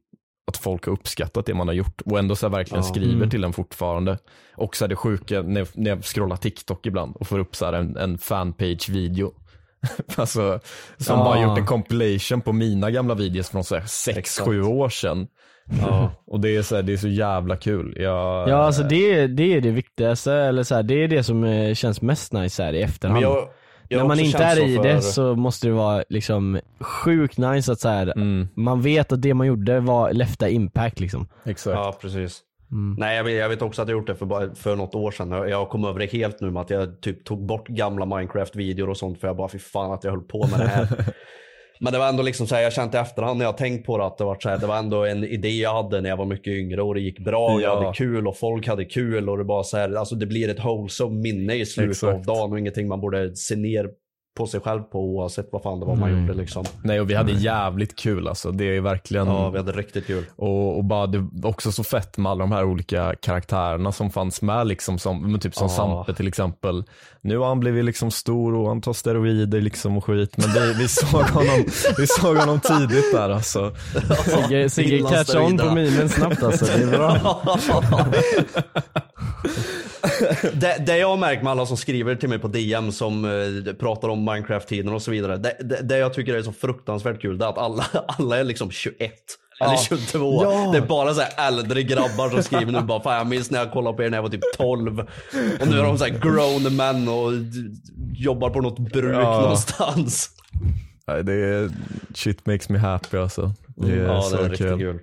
Speaker 3: att folk har uppskattat det man har gjort och ändå så här verkligen
Speaker 2: Ja.
Speaker 3: skriver
Speaker 1: Mm.
Speaker 3: till en fortfarande. Och så här det sjuka när jag, när jag scrollar TikTok ibland och får upp så här en, en fanpage-video. (laughs) alltså, som bara
Speaker 1: Ja.
Speaker 3: gjort en compilation på mina gamla videos från så här sex
Speaker 2: Exakt.
Speaker 3: sju år sedan.
Speaker 2: Ja.
Speaker 3: (laughs) Och det är så, här, det är så jävla kul. Jag,
Speaker 1: Ja alltså det, är- det är det viktigaste, eller så här, det är det som eh, känns mest nice här i efterhand.
Speaker 2: Men jag, jag har
Speaker 1: När man
Speaker 2: också
Speaker 1: inte
Speaker 2: känt
Speaker 1: är i det
Speaker 2: för-
Speaker 1: så måste det vara liksom sjukt nice att så här,
Speaker 2: Mm.
Speaker 1: man vet att det man gjorde var lefta impact
Speaker 2: (laughs)
Speaker 1: liksom.
Speaker 3: Exakt.
Speaker 2: Ja, precis.
Speaker 3: Mm.
Speaker 2: Nej, jag vet, jag vet också att jag gjort det för, bara- för något år sedan. Jag- Jag kom över det helt nu med att jag typ tog bort gamla Minecraft-videor och sånt för jag bara, fy fan att jag höll på med det här.
Speaker 3: (laughs)
Speaker 2: Men det var ändå liksom så här, jag kände i efterhand när jag tänkt på det att det var, så här, det var ändå en idé jag hade när jag var mycket yngre och det gick bra och jag
Speaker 3: Ja.
Speaker 2: hade kul och folk hade kul och det bara så här, alltså det blir ett wholesome minne i slutet
Speaker 3: Exakt.
Speaker 2: av dagen och ingenting man borde se ner på sig själv på oavsett vad fan det var man
Speaker 3: Mm.
Speaker 2: gjorde liksom.
Speaker 3: Nej och vi hade jävligt kul alltså. Det är verkligen
Speaker 2: Ja, vi hade riktigt kul.
Speaker 3: Och, och bara, det var också så fett med alla de här olika karaktärerna som fanns med. Liksom som, men typ som
Speaker 2: Ja.
Speaker 3: Sampe till exempel. Nu har han blivit liksom stor och han tar steroider liksom och skit. Men det, vi, såg honom, vi såg honom tidigt där alltså.
Speaker 1: Sigge, Sigge
Speaker 2: Finland
Speaker 1: catch on
Speaker 2: steroiderna.
Speaker 1: på mimen snabbt alltså, det är
Speaker 2: (laughs)
Speaker 1: bra.
Speaker 2: det, det jag har märkt med alla som skriver till mig på DM som eh, pratar om Minecraft-tiden och så vidare. Det, det, det jag tycker är så fruktansvärt kul det är att alla, (laughs) alla är liksom 21. Eller 22. Det är bara så här äldre grabbar som skriver nu bara Fan jag minns när jag kollade på er när jag var typ 12. Och nu är de så här grown men och d- jobbar på något bruk
Speaker 3: Ja.
Speaker 2: någonstans.
Speaker 3: Nej, Det är, shit makes me happy alltså. Det är
Speaker 2: Mm. ja
Speaker 3: så
Speaker 2: det är
Speaker 3: kul.
Speaker 2: riktigt kul.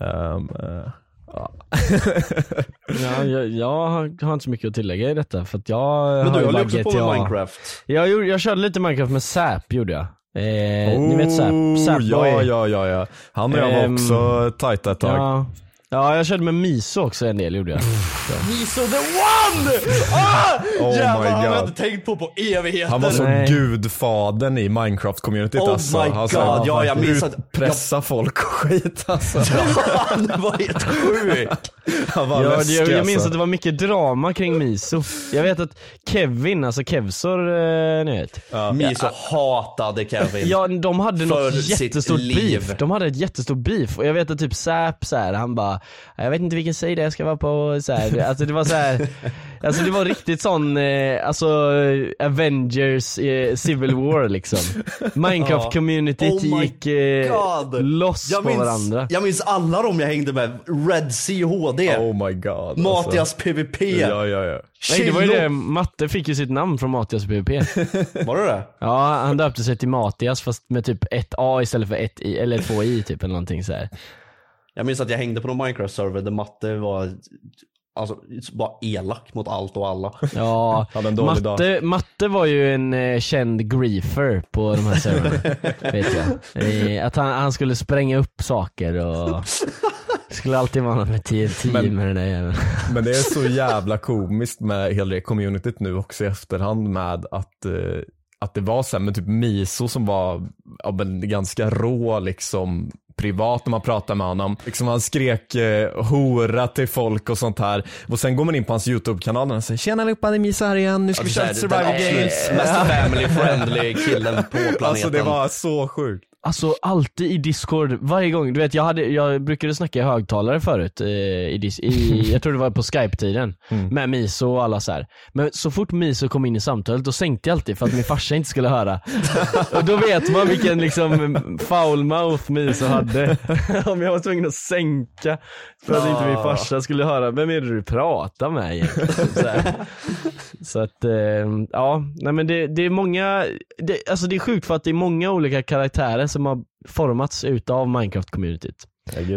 Speaker 3: Ehm, eh,
Speaker 1: Ja, jag, jag har- har inte så mycket att tillägga i detta för att jag
Speaker 2: Men
Speaker 1: har
Speaker 2: du
Speaker 1: ju
Speaker 2: håller
Speaker 1: bara
Speaker 2: ju också på med
Speaker 1: GTA.
Speaker 2: Minecraft.
Speaker 1: Jag, gjorde, jag körde lite Minecraft med Zap gjorde jag. Eh, ni vet Zap,
Speaker 3: Oh,
Speaker 1: Zapboy.
Speaker 3: Ja, ja, ja, ja. Han och jag var
Speaker 1: Ehm,
Speaker 3: också tajta ett tag.
Speaker 1: ja. ja, jag körde med Miso också en del gjorde jag.
Speaker 2: He's the one! Ah!
Speaker 3: Oh my
Speaker 2: Jävlar, han har jag
Speaker 3: God.
Speaker 2: inte tänkt på på evigheter.
Speaker 3: Han var
Speaker 2: (laughs)
Speaker 3: så
Speaker 1: Nej.
Speaker 3: gudfadern i Minecraft-communityt
Speaker 2: Oh
Speaker 3: alltså.
Speaker 2: my
Speaker 3: han
Speaker 2: God, ja, jag minns att-
Speaker 3: pressa folk och skit alltså.
Speaker 2: Han var helt sjuk.
Speaker 3: Han var
Speaker 1: Jag,
Speaker 3: läskig
Speaker 1: jag, jag minns
Speaker 3: alltså.
Speaker 1: att det var mycket drama kring Miso. Jag vet att Kevin, alltså Kevsor, eh, ni vet.
Speaker 2: Miso hatade Kevin.
Speaker 1: Ja, de hade
Speaker 2: För
Speaker 1: något
Speaker 2: sitt
Speaker 1: jättestort
Speaker 2: liv.
Speaker 1: beef. De hade ett jättestort beef och jag vet att typ Zap så här, han bara Jag vet inte vilken sida jag ska vara på och så här. Alltså det var så
Speaker 2: (laughs)
Speaker 1: här, Alltså det var riktigt sån, eh, alltså eh, Avengers eh, Civil War liksom
Speaker 2: (laughs)
Speaker 1: Minecraft-communityt
Speaker 2: Oh my
Speaker 1: gick eh,
Speaker 2: God.
Speaker 1: loss
Speaker 2: jag
Speaker 1: på
Speaker 2: minns,
Speaker 1: varandra
Speaker 2: Jag minns alla de jag hängde med. Red Sea HD.
Speaker 3: Oh my god.
Speaker 2: Matias
Speaker 3: alltså.
Speaker 2: PVP.
Speaker 3: Ja, ja, ja.
Speaker 1: Nej det var ju
Speaker 2: Chilo.
Speaker 1: det, Matte fick ju sitt namn från Matias PVP
Speaker 2: Var det det?
Speaker 1: Ja, han döpte sig till Matias fast med typ ett A istället för ett I, eller två I typ eller någonting så här.
Speaker 2: Jag minns att jag hängde på någon Minecraft-server där Matte var alltså, bara elak mot allt
Speaker 3: (laughs)
Speaker 2: och alla.
Speaker 1: Ja,
Speaker 3: Hade en dålig
Speaker 1: matte, matte var ju en eh, känd griefer på de här servrarna.
Speaker 3: (laughs)
Speaker 1: vet jag. Eh, att han, han skulle spränga upp
Speaker 3: (laughs)
Speaker 1: saker och skulle alltid vara någon med TNT
Speaker 3: Men-
Speaker 1: med den där jäveln.
Speaker 3: Men det är så jävla komiskt med hela det communityt nu också i efterhand med att eh, att det var så här, men typ Miso som var ja, men ganska rå liksom privat när man pratade med honom. Liksom han skrek eh, hora till folk och sånt här. Och sen går man in på hans YouTube-kanal och han säger tjena allihopa det är Miso här igen, nu ska vi köra
Speaker 2: Den
Speaker 3: Survivor
Speaker 2: absolut
Speaker 3: Games.
Speaker 2: mest family-friendly killen på planeten.
Speaker 3: Alltså det var så sjukt.
Speaker 1: Alltså alltid i discord, varje gång. Du vet jag, hade, jag brukade snacka i högtalare förut, eh, i, dis- i, jag tror det var på skype-tiden, med Miso och alla så här. Men så fort Miso kom in i samtalet då sänkte jag alltid för att min farsa inte skulle höra. Och då vet man vilken liksom foul mouth Miso hade. (laughs) Om jag var tvungen att sänka för att inte min farsa skulle höra, vem är det du pratar med egentligen? Så här. Så att, eh, ja, nej men det, det är många, det, alltså det är sjukt för att det är många olika karaktärer som har formats utav Minecraft-communityt.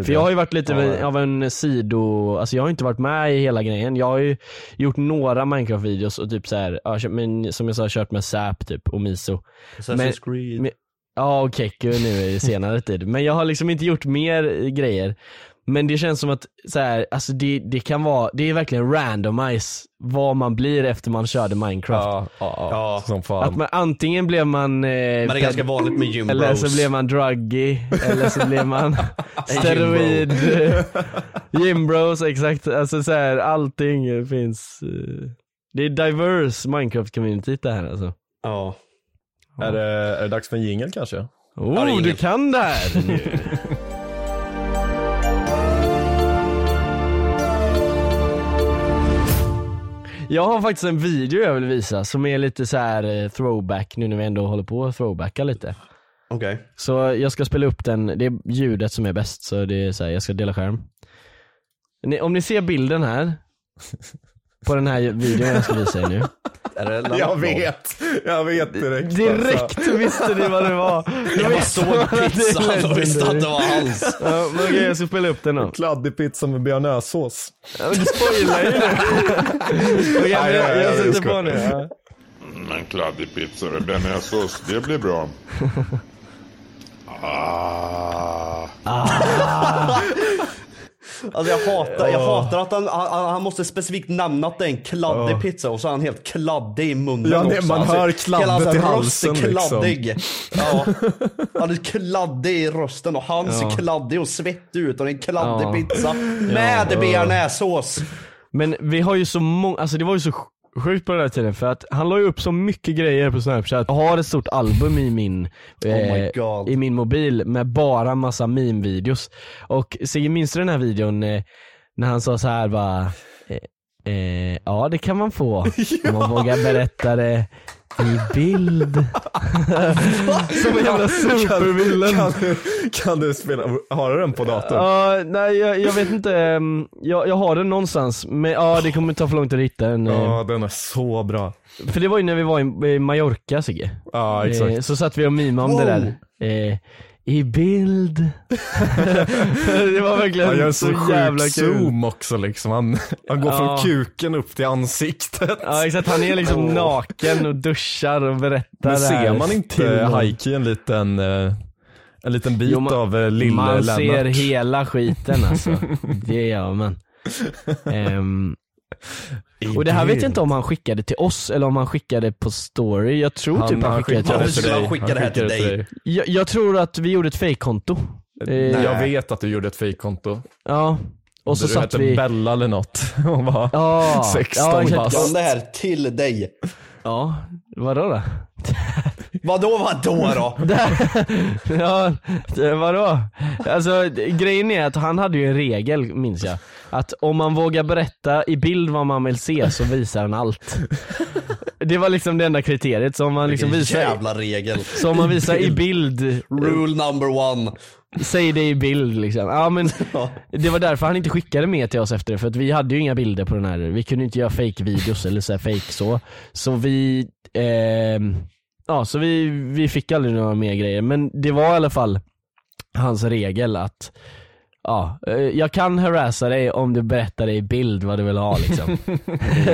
Speaker 1: För jag har ju varit lite av en- av en sido, alltså jag har inte varit med i hela grejen. Jag har ju gjort några Minecraft-videos och typ så här, ja, kö- men som jag sa, kört med Zap typ och Miso.
Speaker 2: Assassin's
Speaker 1: Men-
Speaker 2: Creed.
Speaker 1: men- Ja och Keku nu i senare tid. Men jag har liksom inte gjort mer eh, grejer. Men det känns som att så här, alltså det, det kan vara, det är verkligen randomize vad man blir efter man körde Minecraft.
Speaker 3: Ja, ja, ja, som fan.
Speaker 1: Att man, antingen blev man... Eh,
Speaker 2: Men det är ganska vanligt med gym
Speaker 1: eller
Speaker 2: bros.
Speaker 1: så blev man druggy, eller så blev
Speaker 2: (laughs)
Speaker 1: man steroid. (laughs) Gym bros, exakt. Alltså så här, allting eh, finns. eh, Det är diverse Minecraft-communityt det här alltså.
Speaker 2: Ja.
Speaker 3: Är, det, är det dags för en jingel kanske?
Speaker 2: det är
Speaker 1: Oh,
Speaker 2: ingen-
Speaker 1: du kan (laughs) det här! nu. Jag har faktiskt en video jag vill visa som är lite så här eh, throwback nu när vi ändå håller på att throwbacka lite.
Speaker 2: Okej.
Speaker 1: Så jag ska spela upp den, det är ljudet som är bäst så det är så här, jag ska dela skärm. Ni, om ni ser bilden här, på den här videon jag ska visa er nu.
Speaker 2: Är (laughs) det Lennart
Speaker 3: Jag
Speaker 2: Norr?
Speaker 3: (laughs) vet, jag vet direkt. alltså.
Speaker 1: Direkt visste ni vad det var!
Speaker 2: Jag
Speaker 1: Då
Speaker 2: bara
Speaker 1: visste man
Speaker 2: såg
Speaker 1: att (laughs) det lät
Speaker 2: pizzan och visste att det
Speaker 1: under.
Speaker 2: var hans.
Speaker 1: Ja, men okej, jag ska spela upp den då.
Speaker 3: Kladdig pizza med bearnaisesås.
Speaker 1: (laughs) Ja, men Du spoilar ju nu. Okej, men jag, jag sätter på nu. Ja.
Speaker 4: En kladdig pizza med bearnaisesås, det blir bra. Ah.
Speaker 2: Alltså jag hatar, jag hatar att han, han, han måste specifikt nämna att det är en kladdig pizza och så är han helt kladdig i munnen
Speaker 3: Ja, det-
Speaker 2: också.
Speaker 3: man
Speaker 2: Alltså,
Speaker 3: hör
Speaker 2: hela
Speaker 3: kladdet
Speaker 2: hans
Speaker 3: i
Speaker 2: röst
Speaker 3: halsen,
Speaker 2: är
Speaker 3: liksom.
Speaker 2: kladdig.
Speaker 3: (laughs)
Speaker 2: Ja. Han är kladdig i rösten och hans är kladdig och svettig ut och det är en kladdig
Speaker 1: Ja.
Speaker 2: pizza med bearnaisesås.
Speaker 1: Men vi har ju så många, alltså det var ju så sj- sjukt på den här tiden för att han la ju upp så mycket grejer på snapchat. Jag har ett stort album i min,
Speaker 2: Oh my
Speaker 1: eh,
Speaker 2: God.
Speaker 1: i min mobil med bara massa meme-videos. Och Sigge, minns du den här videon eh, när han sa så här bara eh, eh, Ja det kan man
Speaker 2: (laughs)
Speaker 1: få om man vågar berätta det i
Speaker 2: (laughs)
Speaker 1: bild. Som en jävla supervillen.
Speaker 3: Kan du, kan du spela, har du den på datorn?
Speaker 1: Ja, nej jag, jag vet inte, ehm, jag, jag har den någonstans men ja det kommer ta för långt att hitta den. eh.
Speaker 3: Ja, den är så bra.
Speaker 1: För det var ju när vi var i- i Mallorca Sigge.
Speaker 3: Ja, exakt.
Speaker 1: Eh, Så satt vi och mimade om det där. Eh,
Speaker 3: (laughs)
Speaker 1: I bild. det var
Speaker 3: Han
Speaker 1: verkligen
Speaker 3: gör en
Speaker 1: så,
Speaker 3: så,
Speaker 1: jävla
Speaker 3: sjuk
Speaker 1: kul.
Speaker 3: zoom också liksom. Han, han går
Speaker 1: Ja.
Speaker 3: från kuken upp till ansiktet.
Speaker 1: Ja exakt, han är liksom naken och duschar och berättar
Speaker 3: Men
Speaker 1: det här
Speaker 3: ser man
Speaker 1: till
Speaker 3: inte eh,
Speaker 1: någon.
Speaker 3: Haiki en liten, eh, en liten bit
Speaker 1: Jo, man-
Speaker 3: av eh, lille
Speaker 1: Man
Speaker 3: Lennart?
Speaker 1: ser hela skiten
Speaker 3: (laughs)
Speaker 1: alltså. Det gör man. Ehm, och det här vet jag inte om han skickade till oss eller om han skickade på story. Jag tror typ han skickade till
Speaker 2: det
Speaker 1: oss.
Speaker 2: till dig. Han skickade det här till dig.
Speaker 1: Jag, jag tror att vi gjorde ett fejkkonto. Eh,
Speaker 3: Jag vet att du gjorde ett fejkkonto.
Speaker 1: Ja, och så
Speaker 3: du
Speaker 1: satt
Speaker 3: hette
Speaker 1: vi...
Speaker 3: Bella eller något (laughs) och var
Speaker 1: Ja,
Speaker 3: 16
Speaker 1: ja,
Speaker 3: bast.
Speaker 2: Kan det här till dig.
Speaker 1: Ja, vadå då? (laughs)
Speaker 2: Vadå vadå då?
Speaker 1: ja, det- vadå? Alltså det- grejen är att han hade ju en regel, minns jag. Att om man vågar berätta i bild vad man vill se så visar han allt. Det var liksom det enda kriteriet, så om man liksom visar,
Speaker 2: Jävla regel.
Speaker 1: så om man visar i bild,
Speaker 2: Rule
Speaker 3: (laughs)
Speaker 2: number one.
Speaker 1: säg det i bild liksom. Ja
Speaker 2: (laughs)
Speaker 1: men det var därför han inte skickade mer till oss efter det, för att vi hade ju inga bilder på den här, vi kunde inte göra fake videos eller så här fake så. Så vi, ehm, ja så vi, vi fick aldrig några mer grejer, men det var i alla fall hans regel att Ja, eh, jag kan harassa dig om du berättar i bild vad du vill ha
Speaker 2: (laughs)
Speaker 1: liksom.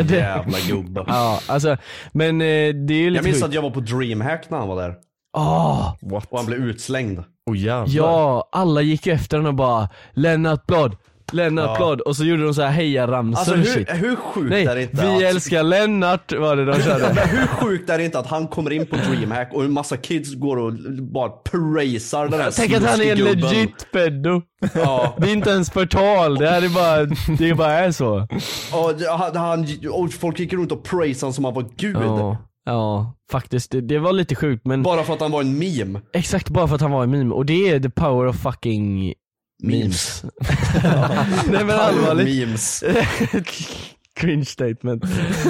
Speaker 2: Jävla gubbe.
Speaker 1: ja, alltså, men eh, det är ju
Speaker 2: Jag
Speaker 1: lite
Speaker 2: minns
Speaker 1: sjukt.
Speaker 2: att jag var på DreamHack när han var där.
Speaker 1: Åh,
Speaker 3: What?
Speaker 2: Och han blev utslängd.
Speaker 3: Oh, jävlar.
Speaker 1: Ja, alla gick ju efter honom och bara Lennart Blad, Lennart Blad och så gjorde de så här hejaramsor
Speaker 2: Alltså
Speaker 1: och
Speaker 2: hur,
Speaker 1: shit.
Speaker 2: hur sjukt
Speaker 1: Nej,
Speaker 2: är det inte?
Speaker 1: vi
Speaker 2: att-
Speaker 1: älskar Lennart var det de
Speaker 2: (laughs)
Speaker 1: körde.
Speaker 2: Men hur sjukt är det inte att han kommer in på DreamHack och en massa kids går och bara praisar den här
Speaker 1: Tänk att han är en
Speaker 2: snuskigubben.
Speaker 1: legit pedo.
Speaker 2: Ja,
Speaker 1: Det är inte ens förtal, det här är bara, det bara är så.
Speaker 2: och, han, han, och folk gick runt och praisade honom som han var gud.
Speaker 1: Ja. Ja, faktiskt. Det, det var lite sjukt men...
Speaker 2: Bara för att han var en meme?
Speaker 1: Exakt, bara för att han var en meme. Och det är the power of fucking memes. (laughs) Nej men allvarligt.
Speaker 2: Memes.
Speaker 1: (laughs) Cringe statement.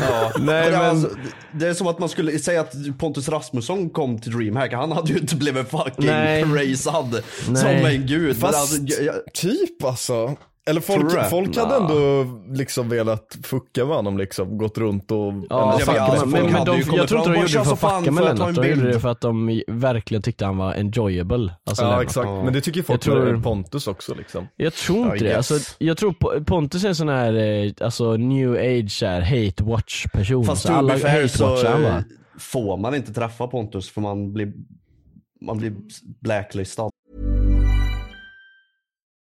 Speaker 2: Ja.
Speaker 1: Nej,
Speaker 2: Men det, är
Speaker 1: men-
Speaker 2: alltså, det är som att man skulle säga att Pontus Rasmusson kom till Dreamhack. Han hade ju inte blivit fucking
Speaker 1: Nej.
Speaker 2: praisad som
Speaker 1: Nej.
Speaker 2: en gud. Men
Speaker 3: Fast
Speaker 2: alltså, jag- jag-
Speaker 3: typ alltså. Eller
Speaker 2: Tror du det?
Speaker 3: folk, folk hade ändå liksom velat fucka med honom liksom, gått runt och...
Speaker 1: Ja,
Speaker 2: men
Speaker 1: fucka
Speaker 2: jag-
Speaker 1: med- men,
Speaker 2: folk
Speaker 1: men
Speaker 2: hade
Speaker 1: de,
Speaker 2: ju kommit
Speaker 1: jag tror inte
Speaker 2: fram
Speaker 1: de
Speaker 2: och
Speaker 1: gjorde det
Speaker 2: bara,
Speaker 1: för att
Speaker 2: "Tja, så fan,
Speaker 1: fucka med
Speaker 2: får jag ta
Speaker 1: Lennart,
Speaker 2: en
Speaker 1: de gjorde
Speaker 2: bild?"
Speaker 1: det för att de verkligen tyckte han var enjoyable. Alltså
Speaker 3: ja
Speaker 1: Lennart.
Speaker 3: exakt, men det tycker folk
Speaker 1: Jag tror-
Speaker 3: med Pontus också
Speaker 1: (laughs)
Speaker 3: liksom.
Speaker 1: Jag tror inte
Speaker 2: I
Speaker 1: det.
Speaker 2: guess.
Speaker 1: Alltså, jag tror Po- Pontus är en sån här eh, alltså, new age så här, hate watch person.
Speaker 2: Fast
Speaker 1: så
Speaker 2: to
Speaker 1: alla
Speaker 2: be fair så eh,
Speaker 1: hate-watchar han va?
Speaker 2: får man inte träffa Pontus för man blir, man blir blacklistad.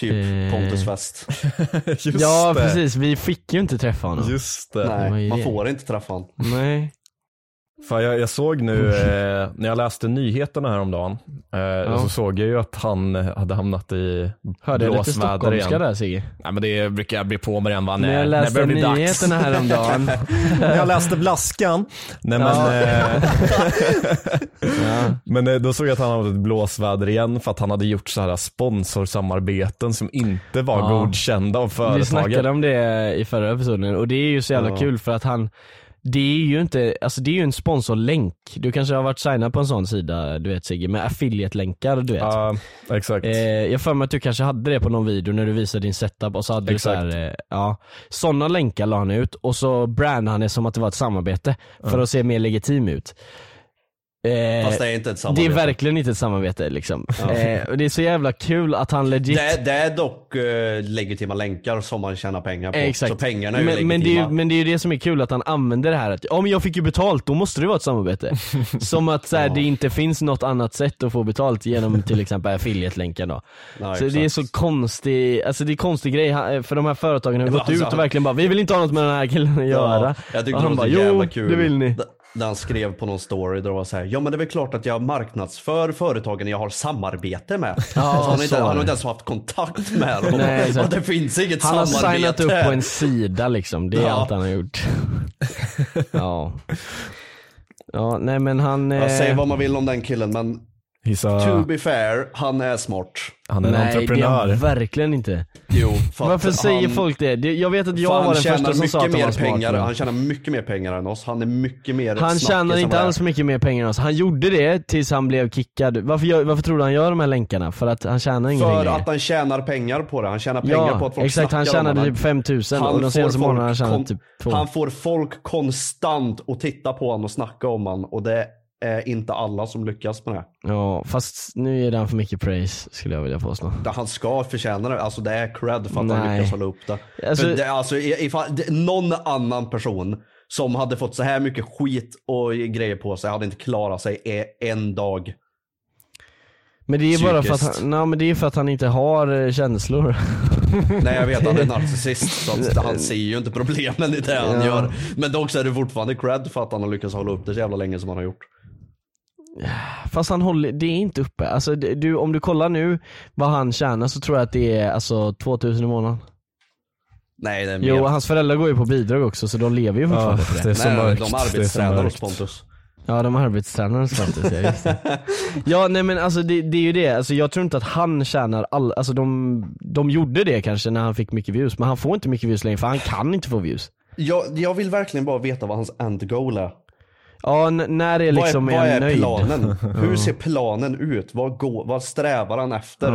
Speaker 2: Typ
Speaker 1: Eh.
Speaker 2: Pontus
Speaker 1: (laughs)
Speaker 2: West.
Speaker 3: Just
Speaker 1: Ja
Speaker 3: det.
Speaker 1: precis, vi fick ju inte träffa honom.
Speaker 3: Just det.
Speaker 1: vad
Speaker 2: Nej,
Speaker 1: är
Speaker 2: man
Speaker 1: det?
Speaker 2: får inte träffa honom.
Speaker 1: Nej.
Speaker 3: Fan, jag, jag såg nu,
Speaker 1: Mm.
Speaker 3: eh, när jag läste nyheterna häromdagen, eh, så såg jag ju att han hade hamnat i
Speaker 1: Hörde jag lite
Speaker 3: blåsväder igen.
Speaker 1: stockholmska där Sigge?
Speaker 3: Nej men det brukar jag bli på med den va,
Speaker 1: När jag läste
Speaker 3: börjar bli dags. (laughs)
Speaker 1: nyheterna häromdagen. (laughs)
Speaker 3: När jag läste Blaskan. Nej men,
Speaker 1: Ja.
Speaker 3: eh, (laughs)
Speaker 1: ja.
Speaker 3: men eh, då såg jag att han hade ett blåsväder igen för att han hade gjort så här sponsorsamarbeten som inte var
Speaker 1: Ja.
Speaker 3: godkända av
Speaker 1: Vi
Speaker 3: företaget.
Speaker 1: snackade om det i förra episoden och det är ju så jävla
Speaker 2: Ja.
Speaker 1: kul för att han det är ju inte, alltså det är ju en sponsorlänk. Du kanske har varit signad på en sån sida du vet Sigge, med affiliate-länkar du vet.
Speaker 3: Ja, exakt.
Speaker 1: Eh, jag har för mig att du kanske hade det på någon video när du visade din setup och så hade
Speaker 3: Exakt.
Speaker 1: du så här, eh, ja. Sådana länkar la han ut och så brandade han det som att det var ett samarbete för att se mer legitim ut. Eh,
Speaker 2: Fast det är inte ett
Speaker 1: det
Speaker 2: samarbete.
Speaker 1: är verkligen inte ett samarbete liksom. Eh, och det är så jävla kul att han legit
Speaker 2: Det är, det är dock eh, legitima länkar som man tjänar pengar på.
Speaker 1: Eh, Exakt.
Speaker 2: Så pengarna är ju
Speaker 1: men,
Speaker 2: legitima.
Speaker 1: men, det är ju, men det är ju det som är kul att han använder det här att, ja men jag fick ju betalt, då måste det vara ett
Speaker 2: (laughs)
Speaker 1: samarbete. som att så här, det inte finns något annat sätt att få betalt genom till exempel affiliate-länken då.
Speaker 2: Ja,
Speaker 1: så det är så konstig, alltså det är en konstig grej, Han- för de här företagen har
Speaker 2: Men
Speaker 1: gått
Speaker 2: alltså,
Speaker 1: ut och
Speaker 2: han-
Speaker 1: verkligen bara, vi vill inte ha något med den här killen att göra.
Speaker 2: Jag tyckte
Speaker 1: och
Speaker 2: det
Speaker 1: han
Speaker 2: var
Speaker 1: bara,
Speaker 2: så jävla
Speaker 1: jo
Speaker 2: kul.
Speaker 1: det vill ni.
Speaker 2: d- När han skrev på någon story där det var så här, ja men det är väl klart att jag marknadsför företagen jag har samarbete med. alltså, han, har inte,
Speaker 1: så
Speaker 2: han
Speaker 1: är
Speaker 2: har
Speaker 1: det.
Speaker 2: inte ens haft kontakt med dem.
Speaker 1: Nej,
Speaker 2: och
Speaker 1: exakt.
Speaker 2: det finns inget
Speaker 1: Han har
Speaker 2: samarbete.
Speaker 1: signat upp på en sida liksom, det är
Speaker 2: Ja.
Speaker 1: allt han har
Speaker 2: (laughs)
Speaker 1: gjort. ja. Ja, nej men han...
Speaker 2: Jag
Speaker 1: eh,
Speaker 2: säger vad man vill om den killen men to
Speaker 3: Hissa,
Speaker 2: be fair, han är smart.
Speaker 3: han är en
Speaker 1: nej,
Speaker 3: entreprenör.
Speaker 1: Det är han verkligen inte.
Speaker 2: Jo, för att
Speaker 1: Varför säger
Speaker 2: han-
Speaker 1: folk det? Det- Jag vet att jag
Speaker 2: för han
Speaker 1: var den
Speaker 2: tjänar
Speaker 1: första som sa
Speaker 2: mycket
Speaker 1: att han
Speaker 2: mer
Speaker 1: var smart.
Speaker 2: pengar,
Speaker 1: men-
Speaker 2: Han tjänar mycket mer pengar än oss. Han är mycket mer
Speaker 1: Han
Speaker 2: snackis
Speaker 1: tjänar
Speaker 2: än
Speaker 1: inte
Speaker 2: vad det är.
Speaker 1: alls mycket mer pengar än oss. Han gjorde det tills han blev kickad. Varför, gör, varför tror du han gör de här länkarna? För att han tjänar ingenting
Speaker 2: För
Speaker 1: längre.
Speaker 2: att han tjänar pengar på det. Han tjänar pengar
Speaker 1: Ja,
Speaker 2: på att folk
Speaker 1: exakt. Han
Speaker 2: snackar om
Speaker 1: tjänade
Speaker 2: honom.
Speaker 1: typ 5000
Speaker 2: Han
Speaker 1: och de
Speaker 2: får
Speaker 1: senaste
Speaker 2: folk
Speaker 1: månaderna har han
Speaker 2: kon-
Speaker 1: tjänat typ 2.
Speaker 2: Han får folk konstant att titta på honom och snacka om honom och det är inte alla som lyckas med det.
Speaker 1: Ja, fast nu ger han för mycket praise skulle jag vilja påstå.
Speaker 2: Där Han ska förtjäna det. Alltså det är cred för att han
Speaker 1: Nej.
Speaker 2: lyckas hålla upp det.
Speaker 1: Alltså-
Speaker 2: för det alltså, i- ifall, det, någon annan person som hade fått så här mycket skit och grejer på sig hade inte klarat sig e- en dag.
Speaker 1: Men det är bara för att
Speaker 2: Psykiskt.
Speaker 1: han, nej, men det är för att han inte har eh, känslor. (laughs)
Speaker 2: Nej jag vet han är narcissist så
Speaker 3: (laughs)
Speaker 2: att han ser ju inte problemen i det han gör. Men dock så är det fortfarande cred för att han har lyckats hålla upp det så jävla länge som han har gjort.
Speaker 1: Fast han håller, det är inte uppe. Alltså, det- du, om du kollar nu vad han tjänar så tror jag att det är alltså 2000 i månaden.
Speaker 2: Nej det är mer.
Speaker 1: Jo, hans föräldrar går ju på bidrag också så de lever ju fortfarande på det.
Speaker 3: är
Speaker 2: Nej,
Speaker 3: mörkt,
Speaker 2: de
Speaker 3: det är så
Speaker 2: arbetstränar hos
Speaker 3: mörkt.
Speaker 2: Pontus.
Speaker 1: Ja, de är arbetstränare faktiskt. Ja, just det.
Speaker 2: (laughs)
Speaker 1: ja, nej men alltså det, det är ju det. Alltså, jag tror inte att han tjänar all, alltså de, de gjorde det kanske när han fick mycket views, men han får inte mycket views längre för han kan inte få views.
Speaker 2: Jag, jag vill verkligen bara veta vad hans end goal är.
Speaker 1: Ja, n- när är liksom
Speaker 2: vad är, vad
Speaker 1: jag
Speaker 2: är
Speaker 1: nöjd? (laughs)
Speaker 2: planen? Hur
Speaker 1: Ja.
Speaker 2: ser planen ut? Vad, går, vad strävar han efter?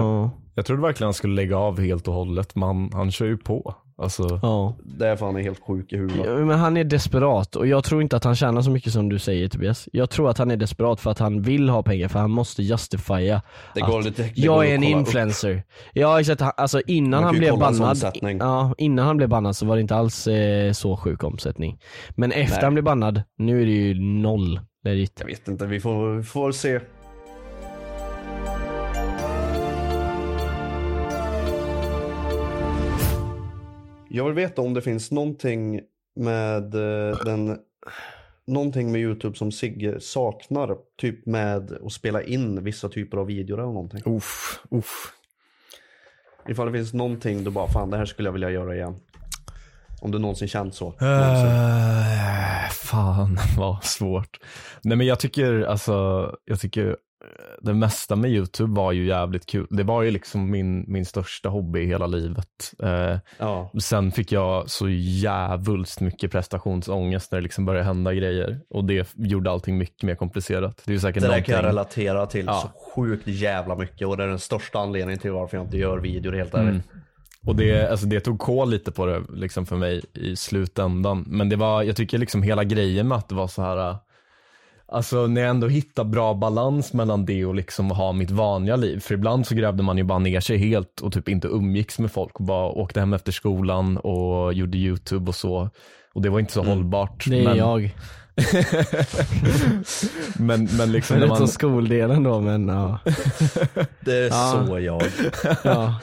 Speaker 3: Jag trodde verkligen han skulle lägga av helt och hållet, men han, han kör ju på. Alltså,
Speaker 2: Det är för han är helt sjuk i huvudet.
Speaker 1: Ja, Men han är desperat och jag tror inte att han tjänar så mycket som du säger Tobias. Jag tror att han är desperat för att han vill ha pengar för han måste justifiera
Speaker 2: Det går
Speaker 1: att
Speaker 2: lite- det går
Speaker 1: jag är
Speaker 2: att
Speaker 1: en
Speaker 2: kolla upp."
Speaker 1: influencer. Ja exakt, Han- alltså
Speaker 2: Man
Speaker 1: innan
Speaker 2: kan
Speaker 1: han
Speaker 2: ju
Speaker 1: blev
Speaker 2: kolla en sån
Speaker 1: bannad,
Speaker 2: sättning.
Speaker 1: ja, innan han blev bannad så var det inte alls eh, så sjuk omsättning. Men efter
Speaker 2: Nej.
Speaker 1: han blev bannad, nu är det ju noll. Legit.
Speaker 2: Jag vet inte, vi får, vi får se. Jag vill veta om det finns någonting med eh, den Någonting med Youtube som Sigge saknar. Typ med att spela in vissa typer av videor eller någonting.
Speaker 3: Uff, uff.
Speaker 2: Ifall det finns någonting du bara, fan det här skulle jag vilja göra igen. Om du någonsin känt så.
Speaker 3: Eh, fan (laughs) vad svårt. Nej men jag tycker, alltså, jag tycker eh, det mesta med YouTube var ju jävligt kul. Det var ju liksom min, min största hobby i hela livet. Eh, Sen fick jag så jävulst mycket prestationsångest när det liksom började hända grejer. Och det gjorde allting mycket mer komplicerat. Det är ju
Speaker 2: Det
Speaker 3: säkert
Speaker 2: där
Speaker 3: någonting.
Speaker 2: kan jag relatera till
Speaker 3: Ja.
Speaker 2: så sjukt jävla mycket och det är den största anledningen till varför jag inte gör videor helt ärligt.
Speaker 3: Mm. Och det, alltså det tog kål lite på det liksom för mig i slutändan. Men det var, jag tycker liksom hela grejen med att det var så här, äh, alltså när jag ändå hittade bra balans mellan det och liksom att ha mitt vanliga liv. För ibland så grävde man ju bara ner sig helt och typ inte umgicks med folk och bara åkte hem efter skolan och gjorde YouTube och så. Och det var inte så hållbart.
Speaker 1: Mm. Det är
Speaker 3: men,
Speaker 1: jag.
Speaker 3: Men, men
Speaker 1: (laughs)
Speaker 3: liksom när
Speaker 1: Förutom
Speaker 3: man...
Speaker 1: skoldelen då men ja.
Speaker 2: Det är
Speaker 1: Ja.
Speaker 2: så jag.
Speaker 1: ja.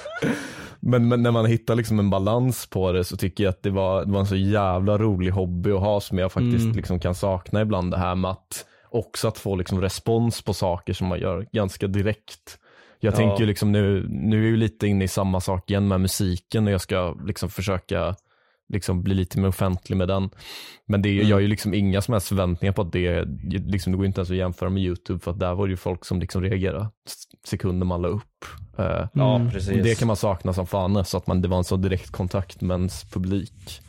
Speaker 3: Men, men när man hittar liksom en balans på det så tycker jag att det var, det var en så jävla rolig hobby att ha som jag faktiskt
Speaker 1: Mm.
Speaker 3: liksom kan sakna ibland. Det här med att också att få liksom respons på saker som man gör ganska direkt. Jag
Speaker 2: Ja.
Speaker 3: tänker ju liksom nu, nu är jag ju lite inne i samma sak igen med musiken och jag ska liksom försöka liksom bli lite mer offentlig med den. Men det, jag har ju liksom inga som helst förväntningar på att det, liksom, det går inte ens att jämföra med YouTube för att där var det ju folk som liksom reagerade s- sekunder man la upp. Eh,
Speaker 2: Ja,
Speaker 3: Mm.
Speaker 2: precis.
Speaker 3: Och det kan man sakna som fan så att man, det var en sån direkt kontakt med ens publik.